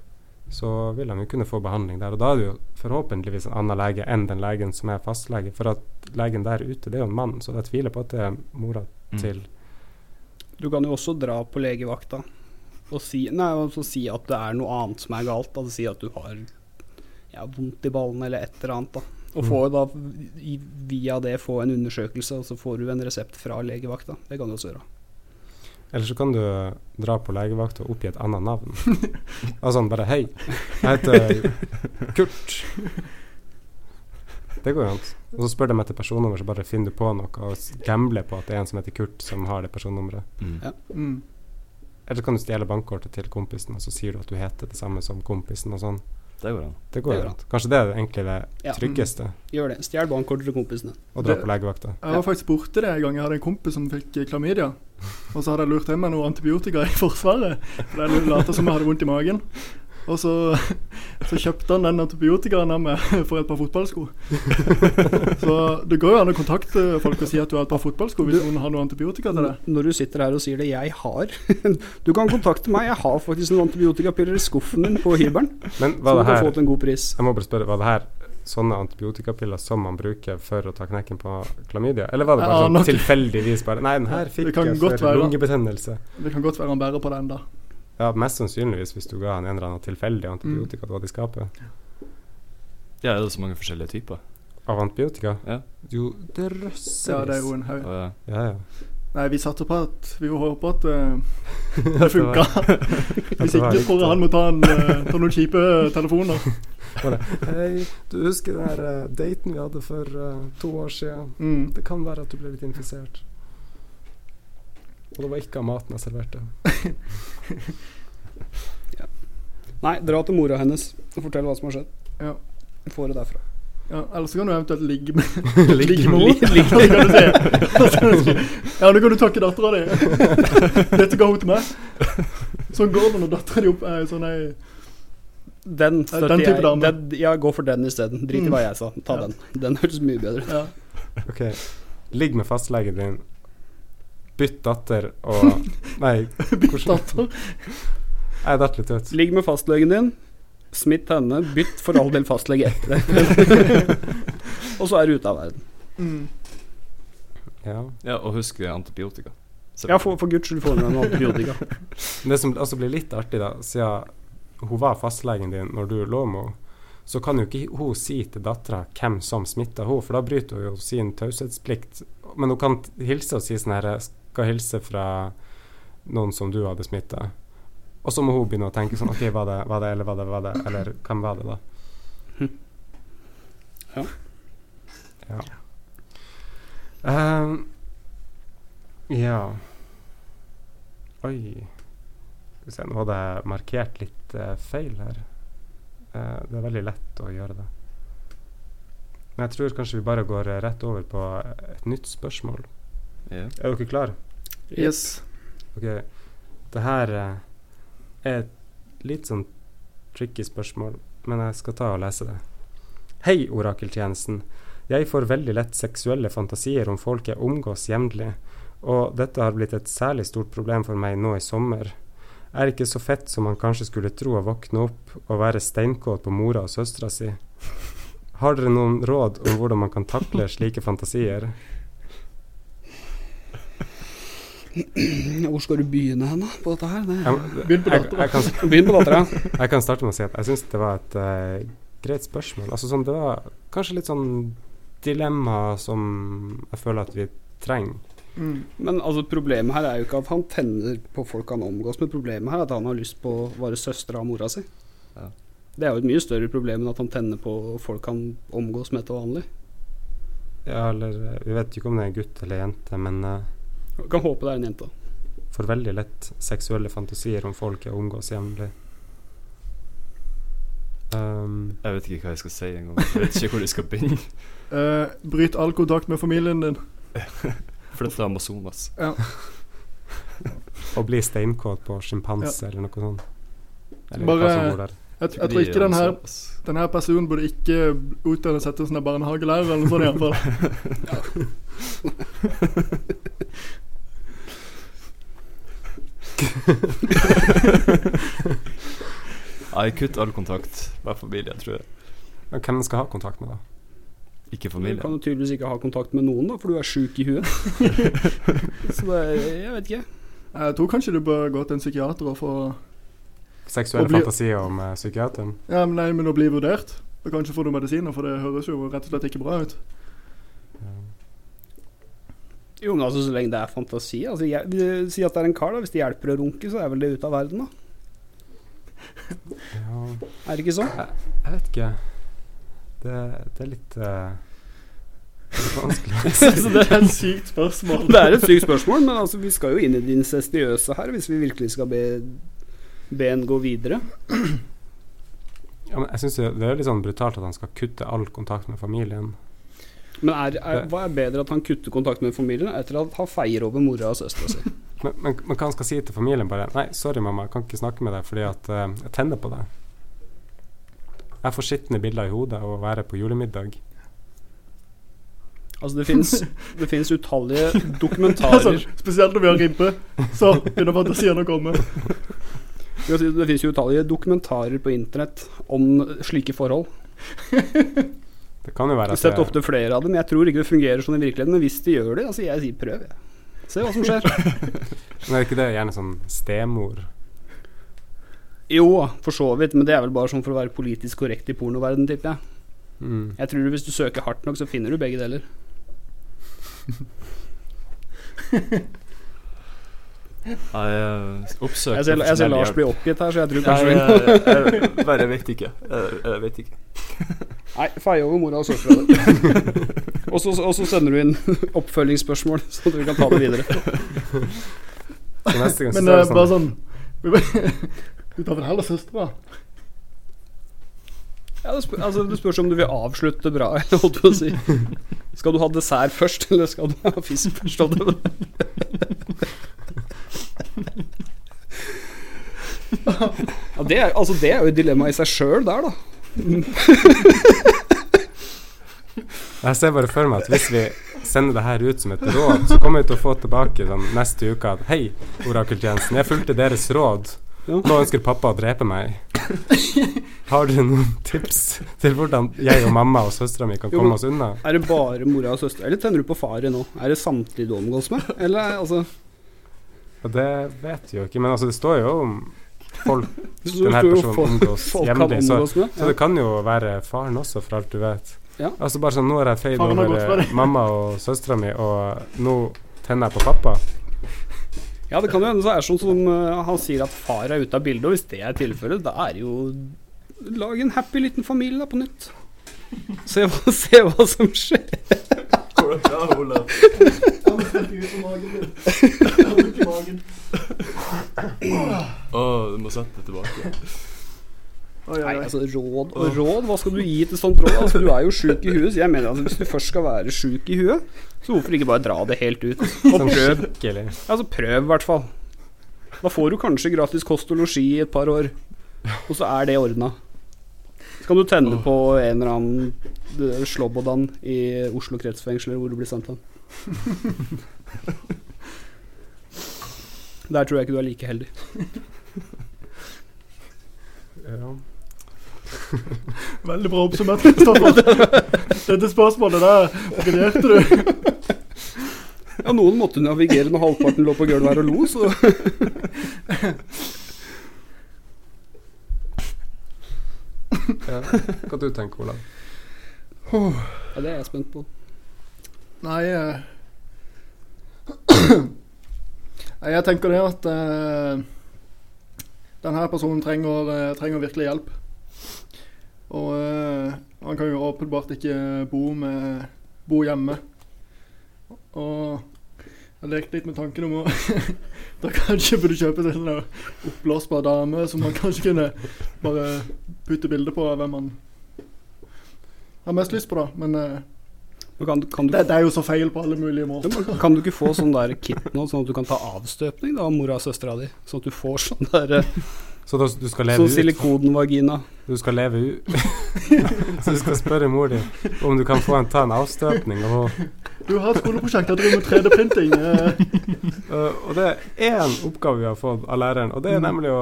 Speaker 5: så vil de jo kunne få behandling der. Og da er det jo forhåpentligvis en annen lege enn den legen som er fastlege. For at legen der ute, det er jo en mann, så jeg tviler på at det er mora
Speaker 3: Mm.
Speaker 5: til
Speaker 6: Du kan jo også dra på legevakta og si, nei, og så si at det er noe annet som er galt. Altså si at du har ja, vondt i ballen eller et eller annet. da. Og få da, i, via det få en undersøkelse, og så får du en resept fra legevakta. Det kan du også gjøre.
Speaker 5: Eller så kan du dra på legevakt og oppgi et annet navn. Og sånn bare Hei, jeg heter Kurt. Det går jo an. Og så spør de etter personnummer, så bare finner du på noe og s- gambler på at det er en som heter Kurt, som har det personnummeret.
Speaker 3: Mm.
Speaker 7: Mm.
Speaker 5: Eller så kan du stjele bankkortet til kompisen, og så sier du at du heter det samme som kompisen og sånn.
Speaker 3: Det går an.
Speaker 5: Det går
Speaker 6: Det
Speaker 5: jo
Speaker 6: går
Speaker 5: an. Kanskje det er egentlig
Speaker 6: Ja. Mm.
Speaker 5: det tryggeste,
Speaker 6: Gjør det. Stjel bankkortet til kompisene.
Speaker 5: å dra
Speaker 7: Det-
Speaker 5: på legevakta.
Speaker 7: Jeg var faktisk borte det en gang. Jeg hadde en kompis som fikk eh, klamydia. Og så hadde jeg lurt hjem med noe antibiotika i Forsvaret. For jeg lot som jeg hadde vondt i magen. Og så, så kjøpte han den antibiotikaen av meg for et par fotballsko. Så det går jo an å kontakte folk og si at du har et par fotballsko hvis noen har noe antibiotika til deg.
Speaker 6: Når du sitter her og sier det 'jeg har' Du kan kontakte meg. Jeg har faktisk noen antibiotikapiller i skuffen min på hybelen.
Speaker 5: Men
Speaker 6: Så
Speaker 5: var
Speaker 6: du
Speaker 5: det
Speaker 6: kan
Speaker 5: her
Speaker 6: få til en god pris.
Speaker 5: Jeg må bare spørre, var det her sånne antibiotikapiller som man bruker for å ta knekken på klamydia? Eller var det bare
Speaker 7: Ja,
Speaker 5: sånn
Speaker 7: nok-
Speaker 5: tilfeldigvis bare Nei, den her fikk
Speaker 7: Det kan
Speaker 5: jeg
Speaker 7: godt
Speaker 5: for
Speaker 7: være.
Speaker 5: lungebetennelse.
Speaker 7: Det kan godt være han bærer på det enda.
Speaker 5: Ja, mest sannsynligvis hvis du ga han en eller annen tilfeldig antibiotika du hadde i skapet.
Speaker 3: Ja, det er så mange forskjellige typer.
Speaker 5: Av antibiotika?
Speaker 3: Ja.
Speaker 5: Jo, det
Speaker 7: Ja, det er
Speaker 5: røssevis.
Speaker 7: jo en haug.
Speaker 3: Og, eh,
Speaker 5: Ja, ja.
Speaker 7: Nei, vi satte på at Vi håper at eh, det funka. Hvis
Speaker 5: det var
Speaker 7: ikke
Speaker 5: riktig.
Speaker 7: eh, tror jeg han må ta, en, eh, ta noen kjipe telefoner.
Speaker 5: Bare, Hei, du husker den her eh, daten vi hadde for eh, to år siden?
Speaker 7: Mm.
Speaker 5: Det kan være at du ble litt infisert. Og det var ikke av maten jeg serverte.
Speaker 6: Nei, dra til mora hennes og fortell hva som har skjedd.
Speaker 7: Ja.
Speaker 6: Får det derfra.
Speaker 7: Ja, eller så kan du eventuelt ligge med Ligge med henne. Så kan du si- så kan du si, Ja, nå kan du takke dattera di. Dette ga hun til meg. Sånn går det når dattera di opp er sånn ei
Speaker 6: Den støtter
Speaker 7: den type
Speaker 6: jeg.
Speaker 7: dame.
Speaker 6: Den, ja, gå for den isteden. Drit i
Speaker 7: Mm.
Speaker 6: hva jeg sa. Ta
Speaker 7: Ja.
Speaker 6: den. Den høres mye bedre ut.
Speaker 7: ja.
Speaker 5: Ok, ligg med fastlegen din. Bytt datter og Nei,
Speaker 7: Bytt datter.
Speaker 5: jeg datt litt ut.
Speaker 6: Ligg med fastlegen din. Smitt henne. Bytt for all del fastlege etter det. og så er du ute av verden.
Speaker 7: Mm.
Speaker 5: Ja.
Speaker 3: Ja, og husk eh, antibiotika.
Speaker 6: Ja, for, for guds skyld, få med deg noe antibiotika.
Speaker 5: Men Det som også blir litt artig, da, siden hun var fastlegen din når du lå med henne, så kan jo ikke hun si til dattera hvem som smitta henne, for da bryter hun jo sin taushetsplikt. Men hun kan t- hilse og si sånn her Skal hilse fra noen som du hadde smitta. Og så må hun begynne å tenke sånn OK, var det, var det, eller var det, var det, eller hvem var det, da?
Speaker 6: Ja.
Speaker 5: Ja. Ehm, ja. Oi. Skal vi se, nå hadde jeg markert litt eh, feil her. Eh, det er veldig lett å gjøre det. Men jeg tror kanskje vi bare går eh, rett over på eh, et nytt spørsmål.
Speaker 3: Ja.
Speaker 5: Er dere klare?
Speaker 7: Yes.
Speaker 5: Ok, det her eh, er et litt sånn tricky spørsmål, men jeg skal ta og lese det. Hei, orakeltjenesten. Jeg får veldig lett seksuelle fantasier om folk jeg omgås jevnlig, og dette har blitt et særlig stort problem for meg nå i sommer. Jeg er ikke så fett som man kanskje skulle tro å våkne opp og være steinkåt på mora og søstera si. Har dere noen råd om hvordan man kan takle slike fantasier?
Speaker 6: Ja, Hvor skal du begynne hen, da? På dette her? Det.
Speaker 5: Jeg,
Speaker 7: Begynn på
Speaker 5: jeg,
Speaker 7: dattera.
Speaker 5: jeg kan
Speaker 6: Begynn på dattera.
Speaker 5: Jeg kan starte med å si at jeg syns det var et eh, greit spørsmål. Altså sånn, Det var kanskje litt sånn dilemma som jeg føler at vi trenger.
Speaker 7: Mm.
Speaker 6: Men altså, problemet her er jo ikke at han tenner på folk han omgås, men problemet her er at han har lyst på å være søstera og mora si.
Speaker 3: Ja.
Speaker 6: Det er jo et mye større problem enn at han tenner på folk han omgås med til vanlig.
Speaker 5: Ja, eller eh, Vi vet jo ikke om det er gutt eller jente, men eh,
Speaker 6: Jeg kan håpe det er en jente.
Speaker 5: får veldig lett seksuelle fantasier om folk jeg omgås jevnlig. Um,
Speaker 3: Jeg vet ikke hva jeg skal si engang. Jeg vet ikke hvor jeg skal begynne.
Speaker 7: Eh, bryt all kontakt med familien din.
Speaker 3: Flytt til Amazonas.
Speaker 5: å bli steinkåt på sjimpanse eller noe sånt. Eller
Speaker 7: Bare-
Speaker 5: hva som bor der.
Speaker 7: Jeg, jeg tror ikke den her,
Speaker 5: altså-
Speaker 7: den her personen burde ikke utdanne seg til sånn barnehagelærer eller noe sånt. i hvert fall.
Speaker 3: Nei, kutt all kontakt. Vær familie, tror jeg.
Speaker 5: Men Hvem skal ha kontakt med, da?
Speaker 3: Ikke
Speaker 6: Du
Speaker 3: familie.
Speaker 6: kan jo tydeligvis ikke ha kontakt med noen, da, for du er sjuk i huet. Så det er, jeg vet ikke.
Speaker 7: Jeg tror kanskje du bør gå til en psykiater og få
Speaker 5: Seksuelle
Speaker 7: Å bli-
Speaker 5: fantasier om eh, psykiateren?
Speaker 7: Ja, men nei, men å bli vurdert. Og kanskje får du medisiner, for det høres jo rett og slett ikke bra ut.
Speaker 6: Jo, men altså, så lenge det er fantasi altså, jeg, de- Si at det er en kar, da. Hvis det hjelper å runke, så er vel det ute av verden, da.
Speaker 5: Ja.
Speaker 6: Er det ikke sånn?
Speaker 5: Jeg vet ikke. Det, det er litt eh, det er litt vanskelig.
Speaker 7: Så det er et sykt spørsmål.
Speaker 6: Det er et sykt spørsmål, men altså, vi skal jo inn i det incestiøse her, hvis vi virkelig skal be, be en gå videre.
Speaker 5: ja, men jeg synes jo det er litt sånn brutalt at han skal kutte all kontakt med familien.
Speaker 6: Men er, er, hva er bedre at han kutter kontakt med familien, etter at han feier over mora og søstera si?
Speaker 5: Men, men, men hva han skal si til familien? Bare Nei, sorry, mamma, jeg kan ikke snakke med deg fordi at eh, jeg tenner på deg. Jeg får skitne bilder i hodet av å være på julemiddag.
Speaker 6: Altså, det finnes, det finnes utallige
Speaker 7: Altså,
Speaker 6: dokumentarer
Speaker 7: spesielt når vi har ribbe, så begynner fantasien å komme.
Speaker 6: Jo, Det det finnes jo utallige dokumentarer på internett om slike forhold.
Speaker 5: Det kan jo være at
Speaker 6: Jeg har sett
Speaker 5: det,
Speaker 6: ofte flere av dem. Jeg tror ikke det fungerer sånn i virkeligheten, men hvis de gjør det, altså jeg sier prøv, jeg. Se hva som skjer.
Speaker 5: men er ikke det gjerne sånn stemor?
Speaker 6: Jo, for så vidt, men det er vel bare sånn for å være politisk korrekt i pornoverdenen, tipper jeg.
Speaker 5: Mm.
Speaker 6: Jeg tror hvis du søker hardt nok, så finner du begge deler.
Speaker 3: Jeg oppsøker
Speaker 6: Jeg ser, jeg ser Lars bli oppgitt her, så jeg tror kanskje vi
Speaker 8: jeg, jeg bare vet ikke. Jeg, jeg vet ikke.
Speaker 6: Nei, feie over mora og søstera di. Og så og så sender du inn oppfølgingsspørsmål, så du kan ta det videre.
Speaker 5: Så neste gang så
Speaker 7: Men
Speaker 5: står det
Speaker 7: det er
Speaker 5: sånn
Speaker 7: bare sånn Du tar vel heller søstera?
Speaker 6: Ja, det, spør, altså, det spørs om du vil avslutte bra, eller holdt på å si. Skal du ha dessert først, eller skal du ha fisk først? holdt jeg på å si. Ja, det, er, altså, det er jo et dilemma i seg sjøl der, da.
Speaker 5: Jeg ser bare for meg at hvis vi sender det her ut som et råd, så kommer vi til å få tilbake sånn neste uke at Hei, orakeltjenesten, jeg fulgte deres råd. Nå ønsker pappa å drepe meg. Har dere noen tips til hvordan jeg og mamma og søstera mi kan
Speaker 6: Jo,
Speaker 5: komme
Speaker 6: men-
Speaker 5: oss unna?
Speaker 6: Er det bare mora og søstera, eller tenner du på faren nå? Er det samtidig du omgås med? Eller er- altså
Speaker 5: Og det vet vi jo ikke, men altså det står jo om folk
Speaker 6: så
Speaker 5: Den her
Speaker 6: tror jeg
Speaker 5: personen
Speaker 6: folk-
Speaker 5: omgås
Speaker 6: folk kan
Speaker 5: jevnlig, så-
Speaker 6: omgås med.
Speaker 5: Så det kan jo være faren også, for alt du vet.
Speaker 6: Ja.
Speaker 5: Altså bare sånn, nå har jeg feid
Speaker 7: Faren har gått for
Speaker 5: over
Speaker 7: det.
Speaker 5: mamma og søstera mi, og nå tenner jeg på pappa.
Speaker 6: Ja, det kan jo hende så er det sånn som eh, han sier at far er ute av bildet, og hvis det er tilfellet, da er det jo Lag en happy liten familie da, på nytt. Se hva, se hva som skjer.
Speaker 8: Går det bra, Olav? Å, du må sette det tilbake.
Speaker 6: Nei,
Speaker 7: Oi, oi, oi.
Speaker 6: altså råd og råd, hva skal du gi til sånt råd? Altså, du er jo sjuk i huet, så jeg mener at hvis du først skal være sjuk i huet, så hvorfor ikke bare dra det helt ut? Og
Speaker 5: Sånn
Speaker 6: prøv.
Speaker 5: skikkelig.
Speaker 6: Altså, prøv i hvert fall. Da får du kanskje gratis kost og losji i et par år, og så er det ordna. Så kan du tenne på en eller annen eh, slåbådan i Oslo kretsfengsel, eller hvor du blir sendt hen. Der tror jeg ikke du er like heldig.
Speaker 5: Ja.
Speaker 7: Veldig bra oppsummert, Kristoffer. Dette spørsmålet der briljerte du.
Speaker 6: Ja, noen måtte navigere når halvparten lå på gulvet her og lo, så
Speaker 5: Ja. Hva du tenker Olav?
Speaker 6: ja, Det er jeg spent på.
Speaker 7: Nei eh, Nei, Jeg tenker det at eh, denne personen trenger, eh, trenger virkelig hjelp. Og eh, han kan jo åpenbart ikke bo, med, bo hjemme. Og jeg lekte litt med tanken om å Da kanskje burde kjøpe seg en sånn der oppblåsbar dame som man kanskje kunne bare putte bilde på av hvem man har mest lyst på, da. Men eh,
Speaker 6: Men Kan, kan,
Speaker 7: det,
Speaker 6: du,
Speaker 7: det er jo så feil på alle mulige måter.
Speaker 6: kan du ikke få sånn der kit nå, sånn at du kan ta avstøpning da, av mora og søstera di? Sånn at du får sånn der eh,
Speaker 5: Så da, du skal leve
Speaker 6: sånn
Speaker 5: ut?
Speaker 6: silikonvagina.
Speaker 5: Du skal leve ut Så du skal spørre mor di om du kan få en, ta en avstøpning. Og,
Speaker 7: Du har et skoleprosjekt der du driver med 3D-printing. eh,
Speaker 5: øh, og det er én oppgave vi har fått av læreren, og det er nemlig å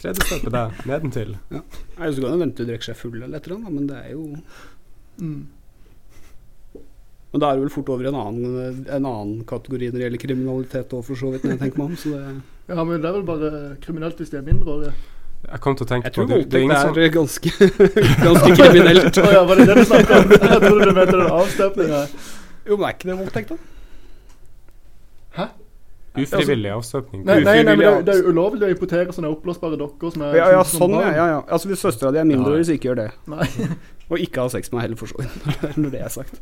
Speaker 5: 3D-støpe deg nedentil.
Speaker 6: Nei, Så kan du vente til du drikker seg full eller et eller annet, da, men det er jo
Speaker 7: Mm.
Speaker 6: Men da er det vel fort over i en annen, en annen kategori når det gjelder kriminalitet òg, for så vidt. Når jeg tenker meg om, så det,
Speaker 7: Ja, men det er vel bare kriminelt hvis de er mindreårige.
Speaker 5: Jeg kom til å tenke
Speaker 6: jeg
Speaker 5: på
Speaker 6: tror
Speaker 5: det, det er
Speaker 6: voldtekt
Speaker 5: ingen sånn som,
Speaker 6: er ganske, ganske kriminelt.
Speaker 7: Å ja, var det det du snakket om? Jeg trodde du mente den avstøpninga.
Speaker 6: Jo, men er ikke det voldtekt, da?
Speaker 5: Ufrivillig avstøpning.
Speaker 7: Nei, nei, nei, men det, er-
Speaker 6: Ufrivillig
Speaker 7: det er jo ulovlig å importere sånne oppblåsbare dokker som er
Speaker 6: Ja, ja,
Speaker 7: som- som
Speaker 6: sånn, ja.
Speaker 7: barn.
Speaker 6: ja, ja. Altså, hvis søstera di er mindreårig, så ikke gjør det.
Speaker 7: Nei.
Speaker 6: Og ikke ha sex med meg heller, for så vidt. Når det er sagt.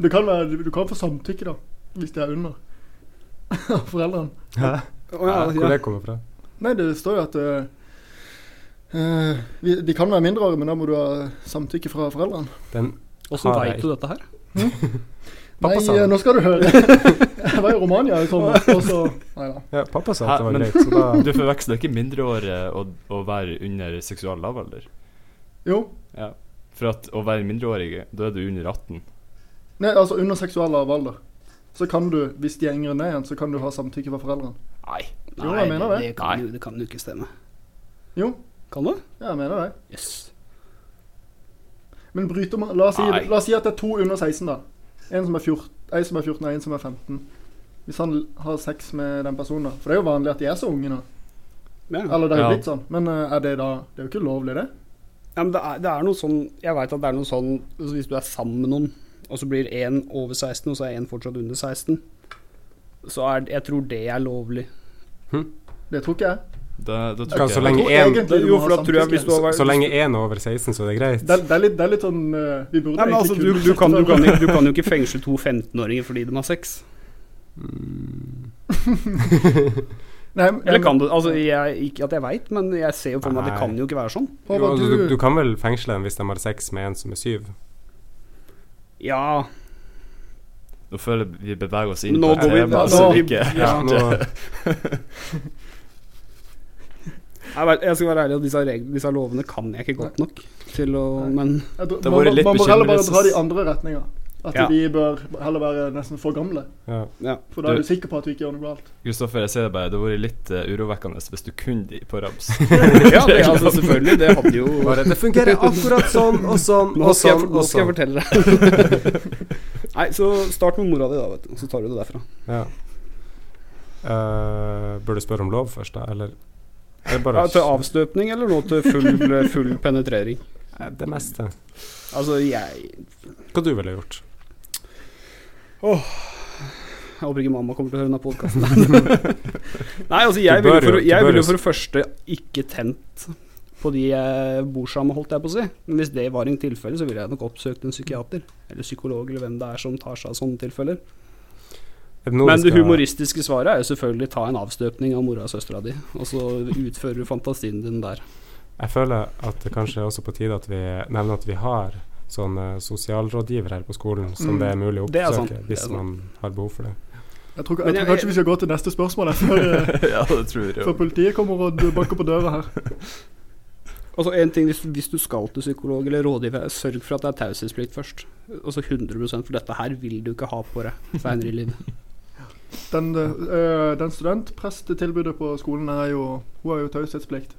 Speaker 7: Det kan være, du kan få samtykke, da. Hvis de er under. Av foreldrene.
Speaker 6: Å,
Speaker 5: Ja,
Speaker 6: ja,
Speaker 5: hvor
Speaker 6: ja.
Speaker 5: det kommer fra.
Speaker 7: Nei, det står jo at eh, eh, vi- De kan være mindreårige, men da må du ha samtykke fra foreldrene.
Speaker 5: Den
Speaker 6: Åssen
Speaker 5: Har jeg.
Speaker 6: veit du dette her?
Speaker 5: Pappa
Speaker 7: Nei,
Speaker 5: sa
Speaker 7: eh,
Speaker 5: det.
Speaker 7: nå skal du høre. Jeg var i Romania i sommer, og så Nei da.
Speaker 5: Ja, pappa sa at
Speaker 3: Hæ,
Speaker 5: det var
Speaker 3: men-
Speaker 5: greit, så da
Speaker 3: Du forveksler ikke mindreårige og å være under seksual lavalder?
Speaker 7: Jo.
Speaker 3: Ja. For at å være mindreårig, da er du under 18.
Speaker 7: Nei, altså under seksuell lavalder. Så kan du, hvis de er yngre enn deg igjen, så kan du ha samtykke fra foreldrene.
Speaker 6: Nei,
Speaker 7: Jo, jeg mener
Speaker 6: det,
Speaker 7: det.
Speaker 6: det, kan, jo- det kan jo ikke stemme.
Speaker 7: Jo,
Speaker 6: Kan det?
Speaker 7: ja, jeg mener det.
Speaker 6: Jøss. Yes.
Speaker 7: Men bryter man La oss si,
Speaker 3: Nei.
Speaker 7: la oss si at det er to under 16, da. En som er 14, en som er 14 og en som er 15. Hvis han l- har sex med den personen, da. For det er jo vanlig at de er så unge nå.
Speaker 6: Ja.
Speaker 7: Eller det er jo
Speaker 3: Ja.
Speaker 7: blitt sånn. Men eh, er det da Det er jo ikke lovlig, det.
Speaker 6: Ja, men det er, det er noe sånn Jeg veit at det er noe sånn altså Hvis du er sammen med noen, og så blir én over 16, og så er én fortsatt under 16, så er, jeg tror det er lovlig.
Speaker 7: Det tror ikke jeg.
Speaker 3: Da, da
Speaker 5: Ja,
Speaker 3: tror
Speaker 5: så
Speaker 3: jeg
Speaker 5: lenge
Speaker 7: tror
Speaker 5: en-
Speaker 7: egentlig du
Speaker 6: Jo,
Speaker 7: må
Speaker 6: for
Speaker 7: ha
Speaker 6: da tror jeg hvis du
Speaker 7: samtykke.
Speaker 6: har vært
Speaker 5: Så lenge én er over 16, så er det greit.
Speaker 7: det, er- det, er litt, det er litt sånn eh, Vi burde
Speaker 6: Nei, men altså,
Speaker 7: egentlig
Speaker 6: du, du,
Speaker 7: kunne
Speaker 6: kan, du,
Speaker 7: sette
Speaker 6: kan,
Speaker 7: det-
Speaker 6: ikke- du kan jo ikke fengsle to 15-åringer fordi de har sex.
Speaker 7: Nei, men-
Speaker 6: Eller kan du? Altså, jeg, ikke at jeg veit, men jeg ser jo for meg at det kan jo ikke være sånn.
Speaker 5: Jo,
Speaker 7: Håvard,
Speaker 5: altså, du,
Speaker 7: du,
Speaker 5: du kan vel fengsle dem hvis de har sex med en som er syv?
Speaker 6: Ja,
Speaker 3: Nå føler jeg vi beveger oss inn
Speaker 6: men nå
Speaker 3: på et
Speaker 6: går vi
Speaker 3: tema
Speaker 7: da-
Speaker 3: som
Speaker 7: da-
Speaker 3: ikke
Speaker 5: Ja, nå,
Speaker 6: Jeg, vet, jeg skal være ærlig at disse, reg- disse lovene kan jeg ikke godt nok til å Men
Speaker 7: jeg tror-
Speaker 3: Da
Speaker 7: man,
Speaker 3: var det
Speaker 7: må-
Speaker 3: litt
Speaker 7: man må heller bare
Speaker 3: bekymrende,
Speaker 7: dra det i
Speaker 3: synes-
Speaker 7: andre retninger. At
Speaker 6: Ja.
Speaker 7: de bør heller være nesten for gamle.
Speaker 5: ja.
Speaker 7: For da er
Speaker 3: Du-
Speaker 7: du sikker på at du ikke gjør noe galt.
Speaker 3: Kristoffer, jeg ser det bare, det hadde vært litt eh, urovekkende hvis du kunne de på rams.
Speaker 6: Ja, det, altså, selvfølgelig. Det hadde jo
Speaker 5: Bare, det fungerer akkurat sånn og sånn
Speaker 6: Nå
Speaker 5: og
Speaker 6: skal
Speaker 5: sånn.
Speaker 6: jeg, for- nå
Speaker 5: Og
Speaker 6: skal
Speaker 5: sånn.
Speaker 6: jeg fortelle deg. Nei, så start med mora di, da, vet du. Og så tar du det derfra.
Speaker 5: Ja. Eh, burde du spørre om lov først, da? Eller, eller bare
Speaker 6: Ja, til avstøpning eller nå til full, full penetrering?
Speaker 5: Eh, Det meste.
Speaker 6: Altså, jeg
Speaker 5: Hva du ville gjort?
Speaker 6: Jeg håper ikke mamma kommer til å høre denne podkasten. Nei, altså, jeg
Speaker 5: Du bør
Speaker 6: ville for,
Speaker 5: jo- du
Speaker 6: jeg
Speaker 5: bør
Speaker 6: ville
Speaker 5: jo-
Speaker 6: for det første ikke tent på de jeg bor sammen med, holdt jeg på å si. Men hvis det var en tilfelle, så ville jeg nok oppsøkt en psykiater. Eller psykolog, eller hvem det er som tar seg av sånne tilfeller.
Speaker 5: Er det noe
Speaker 6: Men
Speaker 5: vi
Speaker 6: det
Speaker 5: skal-
Speaker 6: humoristiske svaret er jo selvfølgelig ta en avstøpning av mora og søstera di, og så utfører du fantasien din der.
Speaker 5: Jeg føler at det kanskje er også på tide at vi nevner at vi har sånne sosialrådgivere her på skolen som
Speaker 7: Mm.
Speaker 5: det er mulig å
Speaker 6: Det er sant.
Speaker 5: oppsøke
Speaker 6: Det
Speaker 5: hvis
Speaker 6: er sant.
Speaker 5: man har behov for det.
Speaker 7: Jeg tror,
Speaker 6: Men
Speaker 7: jeg tror
Speaker 6: jeg-
Speaker 7: kanskje vi skal gå til neste spørsmål jeg, før, eh,
Speaker 3: ja, det tror jeg.
Speaker 7: før
Speaker 3: jo.
Speaker 7: politiet kommer og d- banker på døra her.
Speaker 6: Altså en ting, hvis, hvis du skal til psykolog eller rådgiver, sørg for at det er taushetsplikt først. Altså 100 for dette her vil du ikke ha på deg seinere i livet.
Speaker 7: Den, eh, den studentprestetilbudet på skolen er jo Hun har jo taushetsplikt.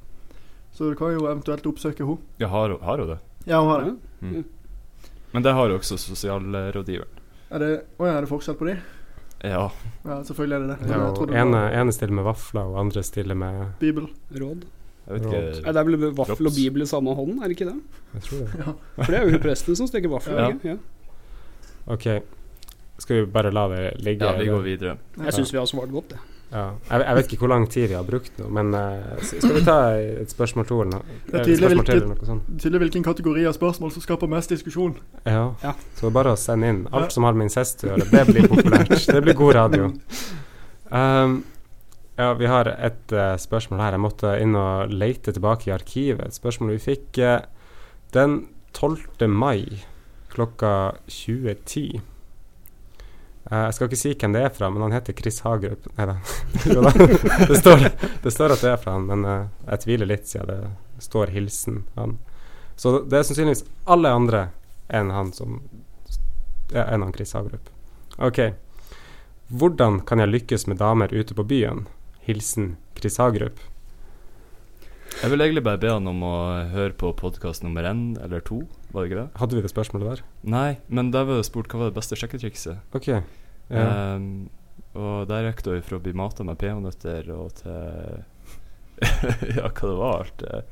Speaker 7: Så du kan jo eventuelt oppsøke henne.
Speaker 3: Ja, har hun- har hun det?
Speaker 7: Ja, hun har det.
Speaker 3: Men det har jo også sosialrådgiveren.
Speaker 7: Er det, å ja, er det forskjell på de?
Speaker 3: Ja.
Speaker 7: Ja, selvfølgelig er det det. Men
Speaker 5: Ja,
Speaker 7: jeg
Speaker 5: og
Speaker 7: trodde det var
Speaker 5: ene, ene stiller med vafler, og andre stiller med
Speaker 7: Bibel.
Speaker 6: Råd?
Speaker 3: Jeg vet
Speaker 6: Nei,
Speaker 3: ikke
Speaker 6: det er vel vaffel og
Speaker 3: Drops.
Speaker 6: bibel i samme hånd, er det ikke det?
Speaker 5: Jeg tror det.
Speaker 6: For det er jo hun presten som steker vaffel.
Speaker 3: Ja.
Speaker 6: er det ikke? Ja.
Speaker 5: OK. Skal vi bare la det ligge?
Speaker 3: Ja, vi går
Speaker 5: eller?
Speaker 3: videre.
Speaker 6: Jeg syns vi har svart godt, det.
Speaker 5: Ja. Jeg, jeg vet ikke hvor lang tid vi har brukt nå, men eh, s- skal vi ta et spørsmål to eller noe?
Speaker 7: Det er
Speaker 5: Eh,
Speaker 7: tydelig
Speaker 5: spørsmål til
Speaker 7: hvilket-
Speaker 5: eller noe sånt?
Speaker 7: Tydelig hvilken kategori av spørsmål som skaper mest diskusjon.
Speaker 5: Ja.
Speaker 6: Ja.
Speaker 5: Så det er bare å sende inn
Speaker 7: Ja.
Speaker 5: alt som har med incest å gjøre. Det blir populært. Det blir god radio. Um, ja, vi har et eh, spørsmål her. Jeg måtte inn og lete tilbake i arkivet. Et spørsmål vi fikk eh, den 12. mai klokka 20.10. Eh, jeg skal ikke si hvem det er fra, men han heter Chris Hagerup. Nei da. Jo da. det, står, det står at det er fra han, men eh, jeg tviler litt siden det står hilsen han. Så det er sannsynligvis alle andre enn han som ja, enn han Chris Hagerup. Ok. Hvordan kan jeg lykkes med damer ute på byen? Hilsen Chris Hagerup.
Speaker 3: Jeg vil egentlig bare be han om å høre på podkast nummer én eller to, var det ikke det?
Speaker 5: Hadde vi det spørsmålet der?
Speaker 3: Nei, men der var det spurt hva var det beste sjekketrikset.
Speaker 5: Ok. Ja.
Speaker 3: Ehm, og der gikk det jo fra å bli mata med peanøtter og til Ja, hva det var alt. eh.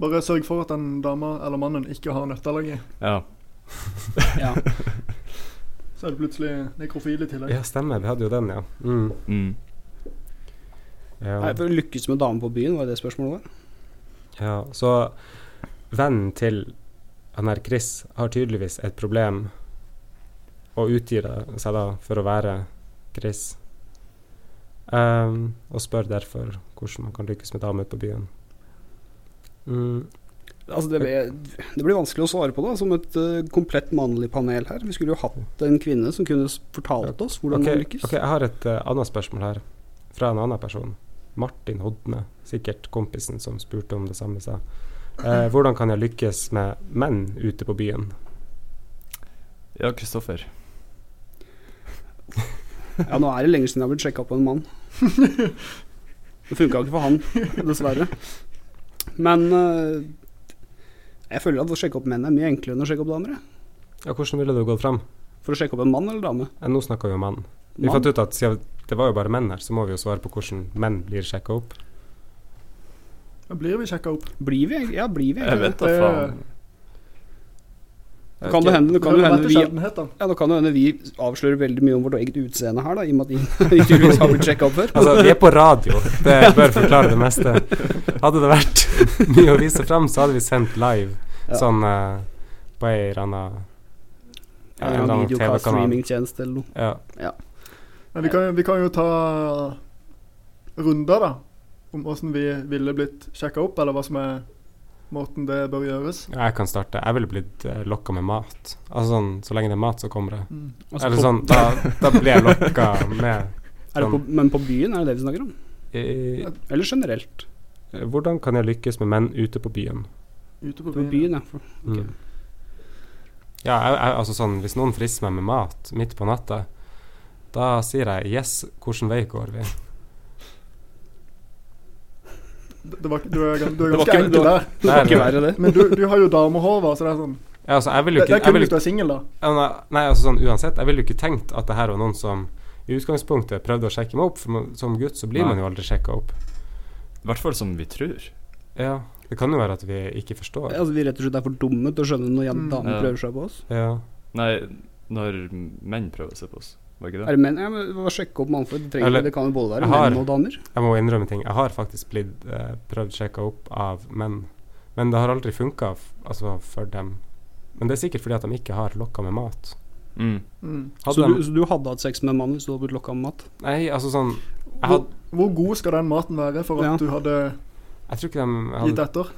Speaker 7: Bare sørg for at den dama eller mannen ikke har nøtter lenger.
Speaker 3: Ja.
Speaker 6: Ja.
Speaker 7: Så er det plutselig nekrofil i tillegg.
Speaker 5: ja, stemmer. Vi hadde jo den, ja. Mm.
Speaker 3: Mm.
Speaker 6: Nei,
Speaker 5: ja.
Speaker 6: for å lykkes med damer på byen, var det det spørsmålet var?
Speaker 5: ja. Så vennen til han her Chris har tydeligvis et problem og utgir det seg da for å være Chris. Ehm, og spør derfor hvordan man kan lykkes med damer ute på byen. Mm.
Speaker 6: Altså, det, ble, det blir vanskelig å svare på, da, som et eh, komplett mannlig panel her. Vi skulle jo hatt en kvinne som kunne s- fortalt oss hvordan
Speaker 5: Ok,
Speaker 6: man lykkes.
Speaker 5: ok, jeg har et eh, annet spørsmål her, fra en annen person. Martin Hodne, sikkert kompisen som spurte om det samme, sa. Eh, hvordan kan jeg lykkes med menn ute på byen?
Speaker 3: Ja, Kristoffer.
Speaker 6: Ja, nå er det lenge siden jeg har blitt sjekka på en mann. Det funka ikke for han, dessverre. Men øh, jeg føler at å sjekke opp menn er mye enklere enn å sjekke opp damer. jeg.
Speaker 5: Ja, hvordan ville du gått fram?
Speaker 6: For å sjekke opp en mann eller dame.
Speaker 5: Eh, nå snakker vi om mann. Vi
Speaker 6: Mann?
Speaker 5: fant ut at siden det var jo bare menn her, så må vi jo svare på hvordan menn blir sjekka opp.
Speaker 7: Da blir vi sjekka opp.
Speaker 6: Blir vi egentlig- Ja, blir vi
Speaker 3: Jeg
Speaker 6: egentlig
Speaker 3: vet
Speaker 6: det?
Speaker 3: da faen.
Speaker 6: Nå kan det hende, nå kan det hende, vi,
Speaker 7: sjeldenhet, da.
Speaker 6: ja, nå kan det hende vi avslører veldig mye om vårt eget utseende her, da, i og med at de tydeligvis har blitt sjekka opp før.
Speaker 5: Altså, vi er på radio. Det bør forklare det meste. Hadde det vært mye å vise fram, så hadde vi sendt live
Speaker 6: Ja.
Speaker 5: sånn eh, på ei eller anna ja, en
Speaker 6: Eller
Speaker 5: eller
Speaker 6: en
Speaker 5: annen
Speaker 6: videocast
Speaker 5: TV-kanal.
Speaker 6: streamingtjeneste eller noe.
Speaker 5: Ja.
Speaker 7: Men vi kan, jo- vi kan jo ta runder, da. Om åssen vi ville blitt sjekka opp, eller hva som er måten det bør gjøres.
Speaker 5: Jeg kan starte. Jeg ville blitt uh, lokka med mat. Altså sånn, Så lenge det er mat, så kommer det.
Speaker 7: Mm.
Speaker 6: Altså,
Speaker 5: Eller
Speaker 6: på-
Speaker 5: sånn, da, da blir jeg lokka med
Speaker 6: er det på, men på byen, er det det vi snakker om?
Speaker 5: eh,
Speaker 6: Eller generelt?
Speaker 5: Hvordan kan jeg lykkes med menn ute på byen?
Speaker 7: Ute på
Speaker 6: På
Speaker 7: byen.
Speaker 6: byen, ja. For-
Speaker 5: Mm. Ja, jeg, jeg, altså sånn, hvis noen frister meg med mat midt på natta, da sier jeg 'yes, hvilken vei går vi?'
Speaker 7: Det det var, du er, gan- du er
Speaker 6: Det var
Speaker 7: ganske
Speaker 6: ikke- det
Speaker 7: enkel
Speaker 6: var-
Speaker 7: der.
Speaker 6: Det er ikke
Speaker 5: Der-
Speaker 6: verre, det.
Speaker 7: Men du, du har jo damehår, så det er sånn
Speaker 5: Ja, altså, jeg vil jo
Speaker 7: Det, det
Speaker 5: ikke,
Speaker 7: er
Speaker 5: jeg
Speaker 7: kun
Speaker 5: vil,
Speaker 7: hvis du er singel, da.
Speaker 5: ja, nei- Nei, altså sånn uansett, jeg ville jo ikke tenkt at det her var noen som i utgangspunktet prøvde å sjekke meg opp, for man, som gutt så blir
Speaker 3: Nei.
Speaker 5: man jo aldri sjekka opp.
Speaker 3: I hvert fall som vi tror.
Speaker 5: Ja, det kan jo være at vi ikke forstår.
Speaker 6: Altså, vi rett og slett er for dumme til å skjønne når jan-
Speaker 7: Mm.
Speaker 6: damer
Speaker 3: Ja.
Speaker 6: prøver seg på oss.
Speaker 5: Ja.
Speaker 3: Nei, når menn prøver å se på oss, var ikke det?
Speaker 6: Er det menn? Ja, men hva- Sjekke opp mannfolk. Det, trenger-
Speaker 5: Eller-
Speaker 6: det kan jo både være
Speaker 5: Jeg har-
Speaker 6: menn og damer.
Speaker 5: Jeg må innrømme ting. Jeg har faktisk blitt eh, prøvd sjekka opp av menn, men det har aldri funka altså, for dem. Men det er sikkert fordi at de ikke har lokka med mat.
Speaker 3: Mm.
Speaker 7: Mm.
Speaker 5: Hadde
Speaker 6: Så
Speaker 5: de-
Speaker 6: du, så du hadde hatt sex med en mann hvis du hadde blitt lokka med mat?
Speaker 5: Nei, altså sånn Jeg,
Speaker 7: Hvor,
Speaker 5: had,
Speaker 7: hvor god skal den maten være for at
Speaker 6: Ja.
Speaker 7: du hadde
Speaker 5: jeg tror ikke de
Speaker 7: gitt
Speaker 5: hadde
Speaker 7: etter?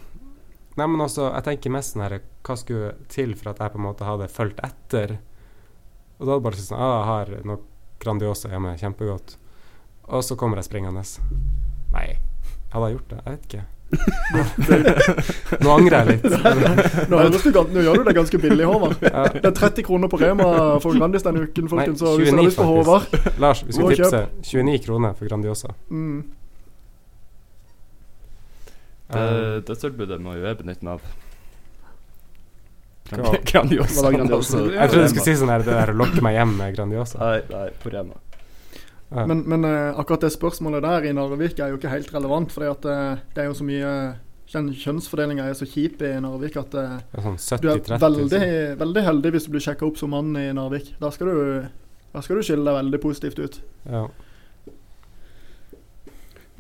Speaker 5: Nei, men også, jeg tenker mest sånn her Hva skulle til for at jeg på en måte hadde fulgt etter? Og da hadde jeg bare sånn ah, Jeg har noe Grandiosa hjemme, kjempegodt. Og så kommer jeg springende. Nei, hadde jeg gjort det? Jeg vet ikke. Nå angrer jeg litt.
Speaker 7: Nå, høres du, gan- nå gjør du det ganske billig, Håvard.
Speaker 5: Ja.
Speaker 7: Det er 30 kroner på Rema for Grandis denne uken, folkens. Så hvis
Speaker 5: 29
Speaker 7: dere har lyst på Håvard
Speaker 5: Lars, vi skulle
Speaker 7: Må
Speaker 5: tipse 29 kroner for Grandiosa.
Speaker 7: mm.
Speaker 5: Eh,
Speaker 3: Det, det tilbudet må jo jeg benytte meg av.
Speaker 5: Hva-
Speaker 3: Grandiosa.
Speaker 6: Hva da, Grandiosa?
Speaker 3: altså.
Speaker 5: jeg trodde du skulle si sånn her det der å lokke meg hjem med Grandiosa.
Speaker 3: Nei, nei, på Rema.
Speaker 5: Ja.
Speaker 7: Men, men eh, akkurat det spørsmålet der i Narvik er jo ikke helt relevant. For det er jo så mye kjønn- Kjønnsfordelinga er så kjip i Narvik at eh,
Speaker 5: Sånn
Speaker 7: du er
Speaker 5: 70-30.
Speaker 7: veldig, veldig heldig hvis du blir sjekka opp som mann i Narvik. Da skal du, da skal du skille deg veldig positivt ut.
Speaker 5: Ja.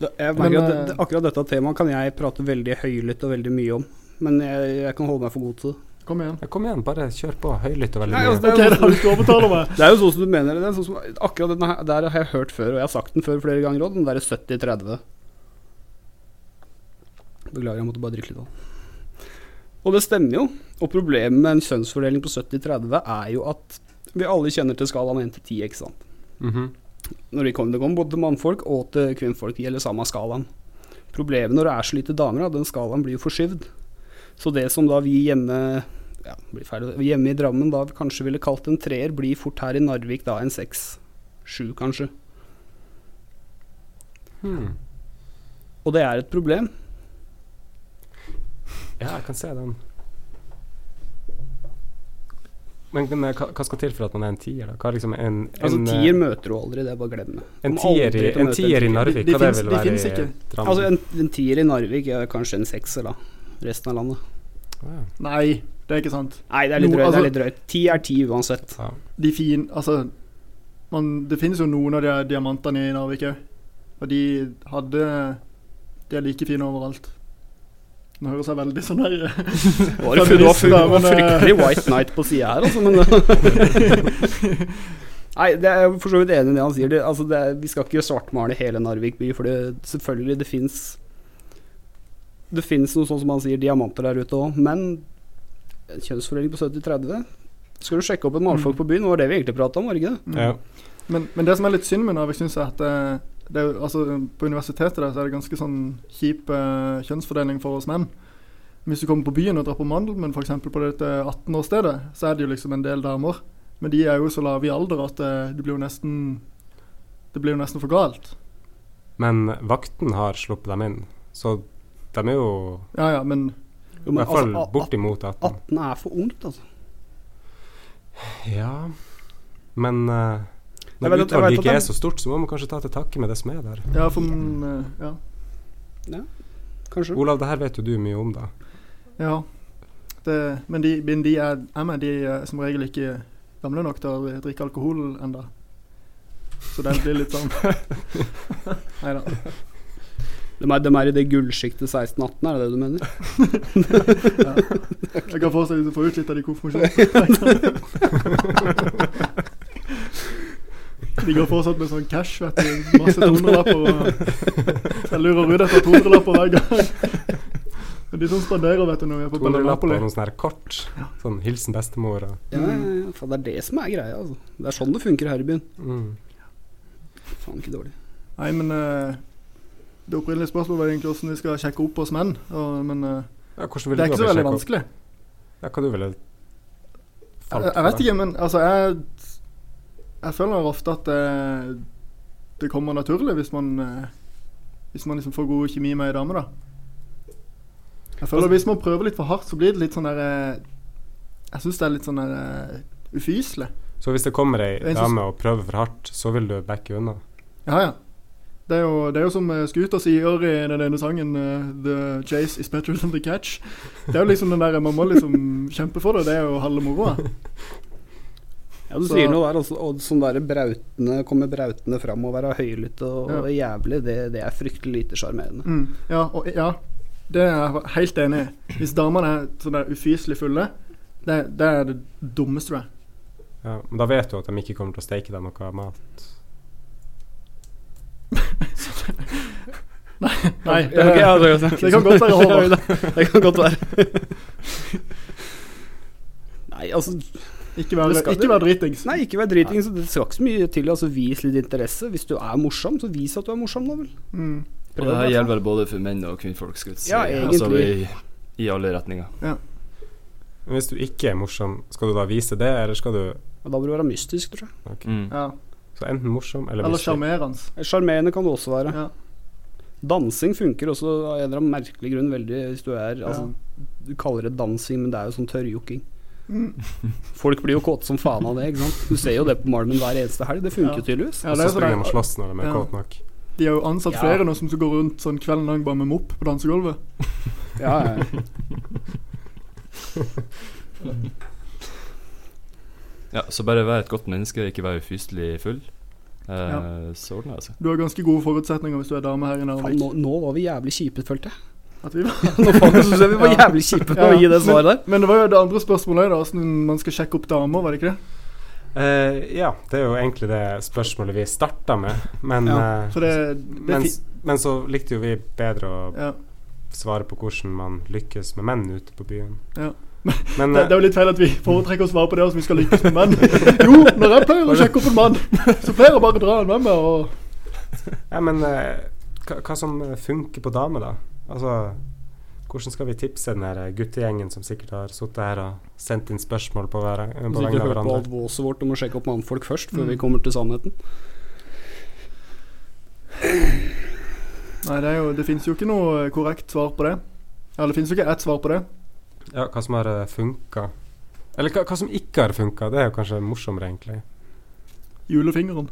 Speaker 6: Det, jeg
Speaker 7: Men,
Speaker 6: merker at det,
Speaker 7: eh,
Speaker 6: det, akkurat dette temaet kan jeg prate veldig høylytt og veldig mye om. Men jeg, jeg kan holde meg for god til det.
Speaker 7: Kom igjen.
Speaker 5: Ja, Kom igjen, bare kjør på høylytt og veldig
Speaker 6: Nei,
Speaker 5: mye.
Speaker 6: altså, det,
Speaker 7: OK,
Speaker 6: er
Speaker 7: da,
Speaker 6: jo,
Speaker 7: du skal overtale meg.
Speaker 6: det er jo sånn som du mener det. er Sånn som, akkurat denne her, der har jeg hørt før, og jeg har sagt den før flere ganger òg, den derre 70-30. Beklager, jeg måtte bare drikke litt vann. Og det stemmer jo. Og problemet med en kjønnsfordeling på 70-30 er jo at vi alle kjenner til skalaen 1 til 10, ikke sant.
Speaker 5: Mhm.
Speaker 6: Når det kommer, det kommer både til mannfolk og til kvinnfolk. Det gjelder samme skalaen. Problemet når det er så lite damer, da, den skalaen blir jo forskyvd. Så det som da vi hjemme ja, blir ferdig, vi hjemme i Drammen da kanskje ville kalt en treer, blir fort her i Narvik da en seks. Sju, kanskje.
Speaker 5: Hmm.
Speaker 6: Og det er et problem.
Speaker 5: Ja, jeg kan se den. Men, men eh, hva, hva skal til for at man er en tier, da? Hva er liksom en, en,
Speaker 6: Altså
Speaker 5: eh,
Speaker 6: Tier møter du aldri, det er bare å glemme.
Speaker 5: en
Speaker 6: kommer
Speaker 5: tier
Speaker 6: aldri
Speaker 5: i,
Speaker 6: til å
Speaker 5: en
Speaker 6: møte
Speaker 5: tier i
Speaker 6: en
Speaker 5: Narvik,
Speaker 7: De- de
Speaker 5: hva det
Speaker 7: finnes-
Speaker 5: vil
Speaker 7: de
Speaker 5: være
Speaker 7: finnes
Speaker 5: i
Speaker 7: ikke.
Speaker 5: Drammen?
Speaker 6: Altså En, en tier i Narvik er kanskje en sekser, da. Resten av landet.
Speaker 5: ja.
Speaker 7: Nei, det er ikke sant.
Speaker 6: Nei, det er litt
Speaker 7: Jo,
Speaker 6: drøyt. det
Speaker 7: altså-
Speaker 6: er litt drøyt. Ti er ti uansett.
Speaker 5: Ja.
Speaker 7: de fin, altså, man, Det finnes jo noen av de her diamantene i Narvik òg. Og de hadde De er like fine overalt. Nå høres jeg veldig sånn her
Speaker 6: Det var, det var, det var fryktelig White Night på sida her, altså, men Nei, det er jeg for så vidt enig i det han sier. Det, altså, det er, vi skal ikke svartmale hele Narvik by, for det, selvfølgelig, det fins Det fins noe sånn som han sier, diamanter der ute òg, men en kjønnsfordeling på 70-30 Skal du sjekke opp en mannfolk på byen? Det var det vi egentlig prata om, var det ikke det?
Speaker 7: Mm.
Speaker 5: Ja.
Speaker 7: Men, men det som er litt synd med Narvik, syns jeg, at det, det, er jo- altså, på universitetet der, så er det ganske sånn kjip eh, kjønnsfordeling for oss menn. Men Hvis du kommer på byen og drar på Mandelmann, f.eks. på dette 18-årsstedet, så er det jo liksom en del damer. Men de er jo så lave i alder at eh, det blir jo nesten Det blir jo nesten for galt.
Speaker 5: Men vakten har sluppet dem inn, så de er jo
Speaker 7: Ja ja, men
Speaker 5: i
Speaker 6: Jo, men
Speaker 5: hvert fall
Speaker 6: altså, a-
Speaker 5: bortimot 18.
Speaker 6: 18 er for ungt, altså.
Speaker 5: Ja, men eh,
Speaker 6: Jeg
Speaker 5: når
Speaker 6: vet at- jeg vet
Speaker 5: utvalget
Speaker 6: at
Speaker 5: ikke er
Speaker 6: de-
Speaker 5: så stort, så må man kanskje ta til takke med det som er der.
Speaker 7: Ja, for mm, eh, ja.
Speaker 6: Kanskje.
Speaker 5: Olav, det her vet jo du mye om, da.
Speaker 7: Ja. Det, men de, men de, er, jeg mener, de er som regel ikke gamle nok til å drikke alkohol enda Så det blir litt sånn Nei da.
Speaker 6: De er, de er i det gullsjiktet 16-18, er det det du mener?
Speaker 7: Ja. Jeg kan forestille meg å få ut litt av de konfirmasjonene. De går fortsatt med sånn cash, vet du. Masse 200-lapper. og- Jeg lurer ut etter 200-lapper hver gang. Men de som spanderer, vet du, når vi er på
Speaker 5: 200 lapper og
Speaker 7: Bellinapoli.
Speaker 5: noen sånne her kort. Sånn hilsen bestemor og
Speaker 6: Ja, ja, ja. Faen, det er det som er greia, altså. Det er sånn det funker her i byen.
Speaker 5: mm.
Speaker 6: Faen, ikke dårlig.
Speaker 7: Nei, men eh, det opprinnelige spørsmålet var egentlig hvordan vi skal sjekke opp oss menn. Og, men eh,
Speaker 5: ja, Hvordan
Speaker 7: det
Speaker 5: ville
Speaker 7: er
Speaker 5: du
Speaker 7: ikke så
Speaker 5: ha
Speaker 7: veldig
Speaker 5: besjekket opp?
Speaker 7: vanskelig.
Speaker 5: Ja, hva du ville
Speaker 7: Jeg, jeg vet ikke, men altså jeg, jeg føler ofte at det, det kommer naturlig hvis man eh, Hvis man liksom får god kjemi med ei dame, da. Jeg føler
Speaker 5: Altså-
Speaker 7: Hvis man prøver litt for hardt, så blir det litt sånn der eh, Jeg syns det er litt sånn der eh, ufyselig.
Speaker 5: Så hvis det kommer ei
Speaker 7: En som-
Speaker 5: dame og prøver for hardt, så vil du backe unna?
Speaker 7: Ja, ja. Det er jo, det er jo som eh, Scooter sier i den ene sangen eh, The chase is better than the catch. Det er jo liksom den der Man må liksom kjempe for det. Det er jo halve moroa.
Speaker 6: Ja, du
Speaker 7: Så-
Speaker 6: sier noe der, altså, og sånn derre brautende Komme brautende fram og være høylytt og, og jævlig, det, det er fryktelig lite sjarmerende.
Speaker 7: Mm, ja, og, ja, det er jeg helt enig i. Hvis damene er sånn der ufyselig fulle, det, det er det dummeste, tror jeg.
Speaker 5: Ja, men da vet du at de ikke kommer til å steke deg noe mat.
Speaker 7: Nei,
Speaker 6: Ja, ok, ja, det,
Speaker 7: det kan godt være Håvard.
Speaker 6: Det kan godt være. Nei, altså
Speaker 7: Ikke vær,
Speaker 6: Det skal-
Speaker 7: ikke vær dritings.
Speaker 6: Nei, ikke vær driting, så det skal ikke så mye til. Altså, Vis litt interesse. Hvis du er morsom, så vis at du er morsom, da vel.
Speaker 7: Mm.
Speaker 3: Og det her gjelder vel både for menn og kvinnfolk, skal vi si.
Speaker 6: Ja,
Speaker 3: Altså,
Speaker 6: egentlig.
Speaker 3: i, I alle retninger.
Speaker 5: Men hvis du ikke er morsom, skal du da vise det, eller skal du
Speaker 6: Og da må du være mystisk, tror jeg.
Speaker 3: Mm.
Speaker 7: Ja.
Speaker 5: Så enten morsom eller
Speaker 7: Eller
Speaker 5: mystisk.
Speaker 7: sjarmerende.
Speaker 6: Sjarmerende kan du også være.
Speaker 7: Ja.
Speaker 6: Dansing funker også av en eller annen merkelig grunn veldig hvis du er altså, Du kaller det dansing, men det er jo sånn tørrjokking.
Speaker 7: Mm.
Speaker 6: Folk blir jo kåte som faen av det, ikke sant. Du ser jo det på Malmen hver eneste helg. Det funker
Speaker 7: Ja.
Speaker 6: jo tydeligvis.
Speaker 7: Ja,
Speaker 5: Og
Speaker 7: det
Speaker 5: så
Speaker 7: er sånn
Speaker 5: springer de og
Speaker 7: der-
Speaker 5: slåss når de er
Speaker 7: Ja.
Speaker 5: kåte nok.
Speaker 7: de har jo ansatt
Speaker 6: Ja.
Speaker 7: flere nå som går rundt sånn kvelden lang bare med mopp på dansegulvet.
Speaker 6: Ja, ja.
Speaker 3: Ja, så bare vær et godt menneske, ikke vær ufyselig full. Eh, Så ordner det seg.
Speaker 7: Du har ganske gode forutsetninger hvis du er dame her i
Speaker 6: Faen,
Speaker 7: Narvik.
Speaker 6: nå, nå var vi jævlig kjipe, følte jeg.
Speaker 7: At vi-
Speaker 6: Nå faen, jeg synes jeg vi var
Speaker 7: Ja.
Speaker 6: jævlig kjipe med å gi det svaret der.
Speaker 7: Men det var jo det andre spørsmålet, da. Hvordan man skal sjekke opp damer, var det ikke det?
Speaker 5: Eh, ja, det er jo egentlig det spørsmålet vi starta med, men,
Speaker 6: Ja,
Speaker 5: eh,
Speaker 7: For det, det er
Speaker 5: men,
Speaker 7: fi-
Speaker 5: men så likte jo vi bedre å
Speaker 7: ja.
Speaker 5: svare på hvordan man lykkes med menn ute på byen.
Speaker 7: Ja.
Speaker 5: Men
Speaker 7: Det, det er jo litt feil at vi foretrekker å svare på det som vi skal lykkes med menn. Jo, når jeg pleier å sjekke opp en mann, så pleier jeg bare å dra han med meg. Og
Speaker 5: eh, ja, men eh, hva, hva som funker på damer, da? Altså, hvordan skal vi tipse den her guttegjengen som sikkert har sittet her og sendt inn spørsmål på, hver, eh, på
Speaker 6: Hvis
Speaker 5: vegne av
Speaker 6: ikke hørt på alt
Speaker 5: hverandre?
Speaker 6: våset vårt om å sjekke opp mannfolk først, før
Speaker 7: Mm.
Speaker 6: vi kommer til sannheten.
Speaker 7: Nei, det, er jo, det finnes jo ikke noe eh, korrekt svar på det. Eller det finnes jo ikke ett svar på det.
Speaker 5: Ja, hva som har funka? Eller hva, hva som ikke har funka? Det er jo kanskje morsommere, egentlig.
Speaker 7: Julefingeren.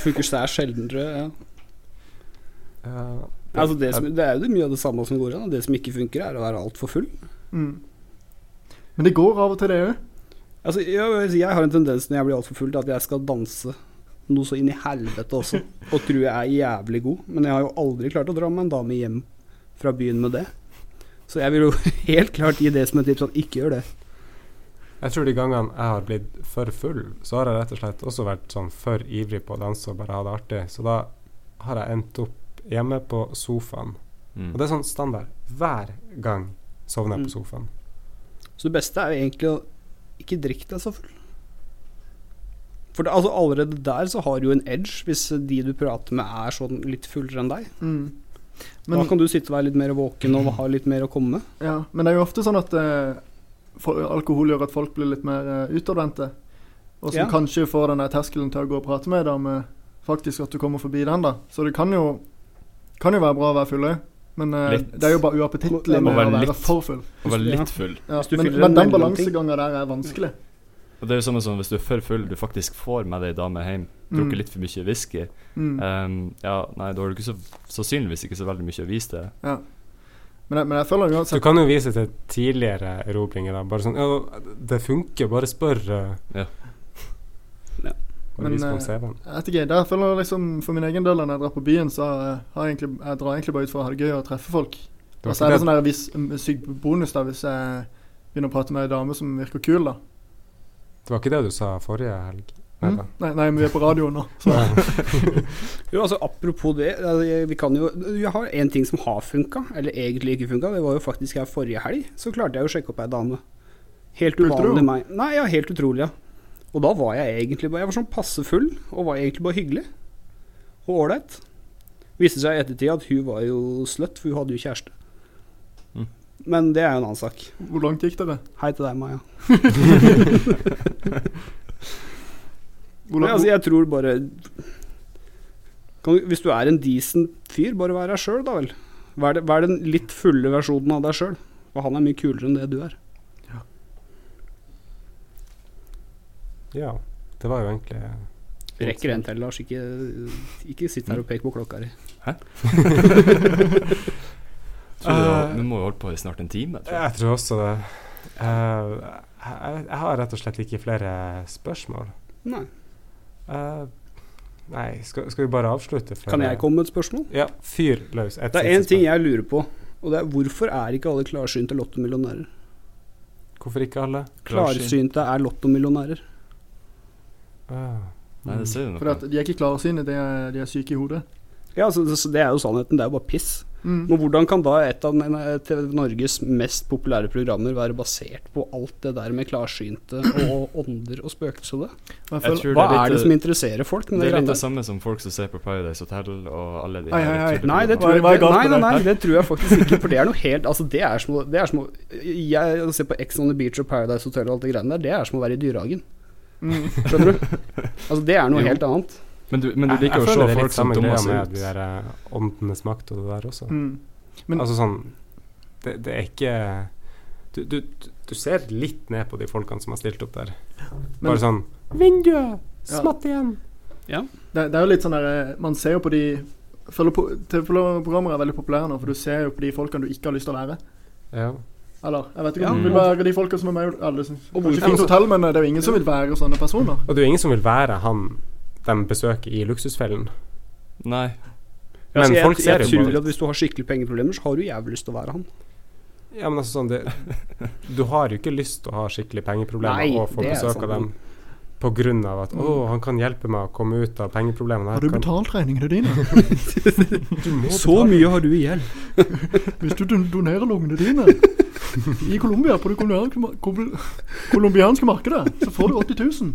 Speaker 6: Funker seg sjelden, tror jeg. Ja.
Speaker 5: Ja,
Speaker 6: Altså det, som, det er jo det mye av det samme som går an. Det som ikke funker, er å være altfor full.
Speaker 7: Mm. Men det går av og til, det òg.
Speaker 6: Altså, jeg, jeg har en tendens når jeg blir altfor full, til at jeg skal danse noe så inn i helvete også, og tror jeg er jævlig god. Men jeg har jo aldri klart å dra med en dame hjem fra byen med det. Så jeg vil jo helt klart gi det som et tips at ikke gjør det.
Speaker 5: Jeg tror de gangene jeg har blitt for full, så har jeg rett og slett også vært sånn for ivrig på å danse og bare ha det artig. Så da har jeg endt opp hjemme på sofaen.
Speaker 3: Mm.
Speaker 5: Og det er sånn standard. Hver gang sovner
Speaker 7: Mm.
Speaker 5: jeg på sofaen.
Speaker 6: Så det beste er jo egentlig å ikke drikke deg så full. For det, altså, allerede der så har du jo en edge, hvis de du prater med er sånn litt fullere enn deg.
Speaker 7: Mm.
Speaker 6: da
Speaker 7: Men,
Speaker 6: kan du sitte og være litt mer våken og ha litt mer å komme med.
Speaker 7: ja, men det er jo ofte sånn at eh, for, alkohol gjør at folk blir litt mer eh, utadvendte. Og som
Speaker 6: Ja.
Speaker 7: kanskje får den der terskelen til å gå og prate med ei dame, faktisk at du kommer forbi den, da. Så det kan jo, kan jo være bra å være full òg, men eh,
Speaker 3: Litt.
Speaker 7: det er jo bare uappetittlig
Speaker 6: Må- må
Speaker 7: med å
Speaker 3: være
Speaker 7: være
Speaker 3: litt.
Speaker 7: for full.
Speaker 3: Og vær litt full.
Speaker 7: Ja,
Speaker 6: Hvis du
Speaker 7: men
Speaker 6: fyller en
Speaker 7: men den
Speaker 6: mellomting.
Speaker 7: balansegangen der er vanskelig.
Speaker 3: Og det er jo samme som hvis du er for full, du faktisk får med deg ei dame hjem, drukket
Speaker 7: Mm.
Speaker 3: litt for mye whisky.
Speaker 7: Mm.
Speaker 3: Ehm, ja, nei, da har du ikke så, sannsynligvis ikke så veldig mye å vise til.
Speaker 7: Men, jeg, men jeg føler
Speaker 5: Du
Speaker 7: uansett
Speaker 5: kan jo vise til tidligere erobringer. da Bare sånn «Ja, 'Det funker, bare spør'.
Speaker 3: Ja.
Speaker 6: Ja.
Speaker 5: Bare
Speaker 7: Men,
Speaker 5: vis
Speaker 7: eh,
Speaker 5: på CV-en.
Speaker 7: Jeg vet ikke, der føler jeg liksom For min egen del, når jeg drar på byen, så eh, har jeg egentlig Jeg drar egentlig bare ut for å ha det gøy og treffe folk.
Speaker 5: Det var
Speaker 7: Og så er
Speaker 5: ikke
Speaker 7: det sånn der viss en syk bonus da hvis jeg begynner å prate med ei dame som virker kul, da.
Speaker 5: Det var ikke det du sa forrige helg? Nei
Speaker 7: Mm?
Speaker 5: da.
Speaker 7: Nei, nei, men vi er på radio nå. Så.
Speaker 6: Jo, altså Apropos det, altså, jeg- vi kan jo Jeg har en ting som har funka, eller egentlig ikke funka. Det var jo faktisk her forrige helg, så klarte jeg å sjekke opp ei dame. Helt
Speaker 7: Pulte du
Speaker 6: uvanlig
Speaker 7: henne?
Speaker 6: meg. Nei, ja, helt utrolig, ja. Og da var jeg egentlig bare Jeg var sånn passe full, og var egentlig bare hyggelig. Og ålreit. Viste seg i ettertid at hun var jo sløtt, for hun hadde jo kjæreste.
Speaker 3: Mm.
Speaker 6: Men det er jo en annen sak.
Speaker 7: Hvor langt gikk dere?
Speaker 6: Hei til deg, Maja.
Speaker 7: Hvor
Speaker 6: Nei, altså,
Speaker 7: langt,
Speaker 6: jeg tror bare kan, du- Hvis du er en decent fyr, bare vær deg sjøl, da vel. Vær, det, vær den litt fulle versjonen av deg sjøl. For han er mye kulere enn det du er.
Speaker 7: Mm.
Speaker 5: Ja. Det var jo egentlig
Speaker 6: Rekker en til, Lars. Ikke, ikke sitt her og pek på klokka di.
Speaker 3: Tror du,
Speaker 5: Eh.
Speaker 3: nå må vi holde på i snart en time, tror jeg.
Speaker 5: Jeg tror også det. Eh, jeg, jeg har rett og slett ikke flere spørsmål.
Speaker 6: Nei.
Speaker 5: Eh, nei, skal, skal vi bare avslutte? for-
Speaker 6: Kan jeg komme med et spørsmål?
Speaker 5: Ja, fyr løs. Et
Speaker 6: Det er én
Speaker 5: siste
Speaker 6: ting
Speaker 5: spørsmål.
Speaker 6: jeg lurer på. Og det er hvorfor er ikke alle klarsynte lottomillionærer?
Speaker 5: Hvorfor ikke alle?
Speaker 6: Klarsynte er lottomillionærer.
Speaker 5: Ah,
Speaker 3: Nei, det ser du
Speaker 7: Fordi
Speaker 3: noe.
Speaker 7: at de er ikke klare sine, de er, de er syke i hodet.
Speaker 6: Ja, så, så det er jo sannheten. Det er jo bare piss.
Speaker 7: Mm.
Speaker 6: Men hvordan kan da et av ne- TV Norges mest populære programmer være basert på alt det der med klarsynte og ånder og spøkelser og det?
Speaker 7: Jeg
Speaker 3: Jeg
Speaker 7: føler,
Speaker 3: tror
Speaker 6: Hva
Speaker 3: det
Speaker 6: er det
Speaker 3: litt,
Speaker 6: som interesserer folk? med
Speaker 3: det er
Speaker 6: det
Speaker 3: litt det
Speaker 6: greiene der?
Speaker 3: samme som folk som ser på Paradise Hotel og alle de
Speaker 7: Hei, hei, hei.
Speaker 6: Nei, det
Speaker 3: tulleprogrammene.
Speaker 6: tror jeg,
Speaker 7: Hva er- hva er galt
Speaker 6: nei, nei,
Speaker 7: med
Speaker 6: nei,
Speaker 7: det?
Speaker 6: det tror jeg faktisk ikke. For det er noe helt Altså, det er som å, det er som å Jeg å se på Ex on the Beach og Paradise Hotel og alt det greiene der, det er som å være i dyrehagen.
Speaker 7: mm.
Speaker 6: Skjønner du? Altså, det er noe
Speaker 3: Jo.
Speaker 6: helt annet.
Speaker 3: Men du, men du
Speaker 5: jeg-
Speaker 3: liker
Speaker 5: jeg
Speaker 3: å se
Speaker 5: føler det er litt
Speaker 3: folk som
Speaker 5: samme
Speaker 3: dummer
Speaker 5: greia
Speaker 3: seg
Speaker 5: med
Speaker 3: ut.
Speaker 5: de der eh, åndenes makt og det der også.
Speaker 7: Mm. Men-
Speaker 5: altså sånn det, det er ikke du, du, du- du ser litt ned på de folkene som har stilt opp der.
Speaker 7: Men-
Speaker 5: Bare sånn Vinduet!
Speaker 7: Ja.
Speaker 5: Smatt igjen!
Speaker 7: Det, det er jo litt sånn der eh, Man ser jo på de føler på- TV-programmer er veldig populære nå, for du ser jo på de folkene du ikke har lyst til å være.
Speaker 5: Ja.
Speaker 7: Eller jeg vet ikke
Speaker 6: Ja.
Speaker 7: om det vil være de folkene som er med. Alle, som-
Speaker 6: Og
Speaker 7: kanskje
Speaker 6: hvorfor-
Speaker 7: fint hotell, men eh, det er jo ingen som vil være sånne personer.
Speaker 5: Og det er jo ingen som vil være han de besøker i Luksusfellen.
Speaker 3: Nei.
Speaker 5: Men
Speaker 6: altså, jeg,
Speaker 5: folk ser
Speaker 6: jeg
Speaker 5: jo
Speaker 6: tror
Speaker 5: bare
Speaker 6: at hvis du har skikkelig pengeproblemer, så har du jævlig lyst til å være han.
Speaker 5: Ja, men altså sånn det, Du har jo ikke lyst til å ha skikkelig pengeproblemer
Speaker 6: Nei,
Speaker 5: og få
Speaker 6: det er
Speaker 5: besøk
Speaker 6: sant. Mm.
Speaker 5: av dem på grunn av at 'Å, han kan hjelpe meg å komme ut av pengeproblemene'.
Speaker 7: Har du
Speaker 5: her, kan-
Speaker 7: betalt regningene dine?
Speaker 5: Du må
Speaker 6: Så
Speaker 5: betale.
Speaker 6: mye har du i gjeld.
Speaker 7: Hvis du don- donerer lungene dine i Colombia på det colombianske mar- kol- colombianske markedet, så får du 80 000.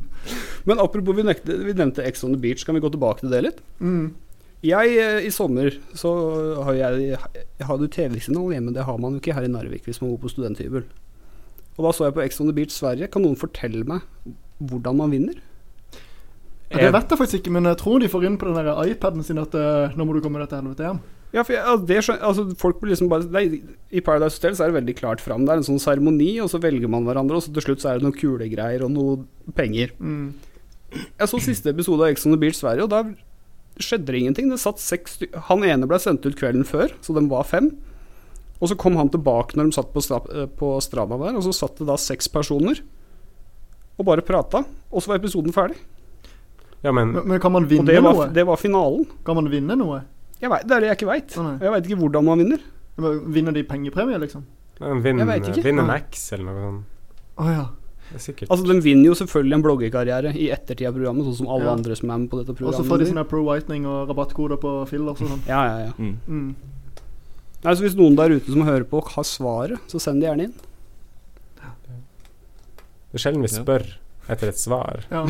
Speaker 6: Men apropos, vi, nekte, vi nevnte Ex on the Beach, kan vi gå tilbake til det litt?
Speaker 7: Mm.
Speaker 6: Jeg, eh, i sommer, så har jeg Jeg hadde jo TV-signal hjemme, det har man jo ikke her i Narvik hvis man bor på studenthybel. Og da så jeg på Ex on the Beach Sverige. Kan noen fortelle meg hvordan man vinner?
Speaker 7: Ja, Det vet jeg faktisk ikke, men jeg tror de får inn på den der iPaden sin at eh, nå må du komme deg til helvete hjem.
Speaker 6: Ja, for jeg, altså, det skjøn- altså, folk blir liksom bare nei, I Paradise Hotel så er det veldig klart fram. Det er en sånn seremoni, og så velger man hverandre, og så til slutt så er det noen kulegreier og noe penger.
Speaker 7: Mm.
Speaker 6: Jeg så siste episode av Ex on the Beach Sverige, og der skjedde det ingenting. Det satt seks sty- Han ene ble sendt ut kvelden før, så de var fem. Og så kom han tilbake når de satt på, stra eh, på stranda der, og så satt det da seks personer og bare prata. Og så var episoden ferdig.
Speaker 5: Ja, men
Speaker 7: Men, men kan man
Speaker 6: Og
Speaker 7: vinne
Speaker 6: det var,
Speaker 7: noe?
Speaker 6: det var finalen.
Speaker 7: Kan man vinne noe?
Speaker 6: Jeg vet, det er det jeg ikke veit.
Speaker 7: Å, nei.
Speaker 6: Jeg veit ikke hvordan man vinner.
Speaker 7: Men Vinner de pengepremie, liksom?
Speaker 5: men
Speaker 6: Jeg
Speaker 5: vinn
Speaker 6: vet ikke.
Speaker 5: vinn en
Speaker 7: Nei.
Speaker 5: X eller noe sånt.
Speaker 7: Å ja.
Speaker 5: Det er sikkert.
Speaker 6: Altså, De vinner jo selvfølgelig en bloggerkarriere i ettertid av programmet, sånn som alle
Speaker 7: Ja.
Speaker 6: andre som er med på dette
Speaker 7: Og så
Speaker 6: programmet.
Speaker 7: får de sånne pro-whitening og rabattkoder på fillers og sånn.
Speaker 6: ja, ja, ja.
Speaker 3: Mm.
Speaker 7: Mm.
Speaker 6: Nei, så Hvis noen der ute som hører på, har svaret, så send det gjerne inn.
Speaker 5: det er sjelden vi
Speaker 3: Ja.
Speaker 5: spør etter et svar.
Speaker 7: Ja.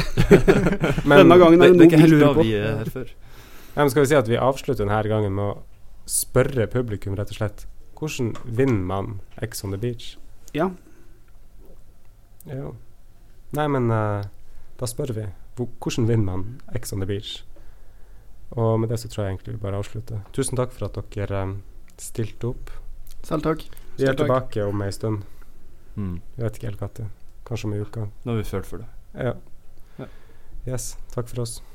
Speaker 5: Men,
Speaker 6: Denne gangen
Speaker 3: Det,
Speaker 6: er
Speaker 3: det
Speaker 6: det
Speaker 3: er ikke
Speaker 6: noe vi
Speaker 3: helt da
Speaker 6: lurer på.
Speaker 3: vi er her før.
Speaker 5: Ja, men skal vi si at vi avslutter denne gangen med å spørre publikum, rett og slett, hvordan vinner man X on the beach?
Speaker 6: Ja.
Speaker 5: Jo. Nei, men eh, da spør vi. Hvor- Hvordan vinner man X on the beach? Og med det så tror jeg egentlig vi bare avslutter. Tusen takk for at dere eh, stilte opp.
Speaker 7: Selv takk.
Speaker 5: Vi er
Speaker 6: Selv takk.
Speaker 5: tilbake om ei stund.
Speaker 3: Mm.
Speaker 5: Jeg vet ikke helt når. Kanskje om ei uke.
Speaker 3: Nå er vi følt for det.
Speaker 5: Ja. Yes. Takk for oss.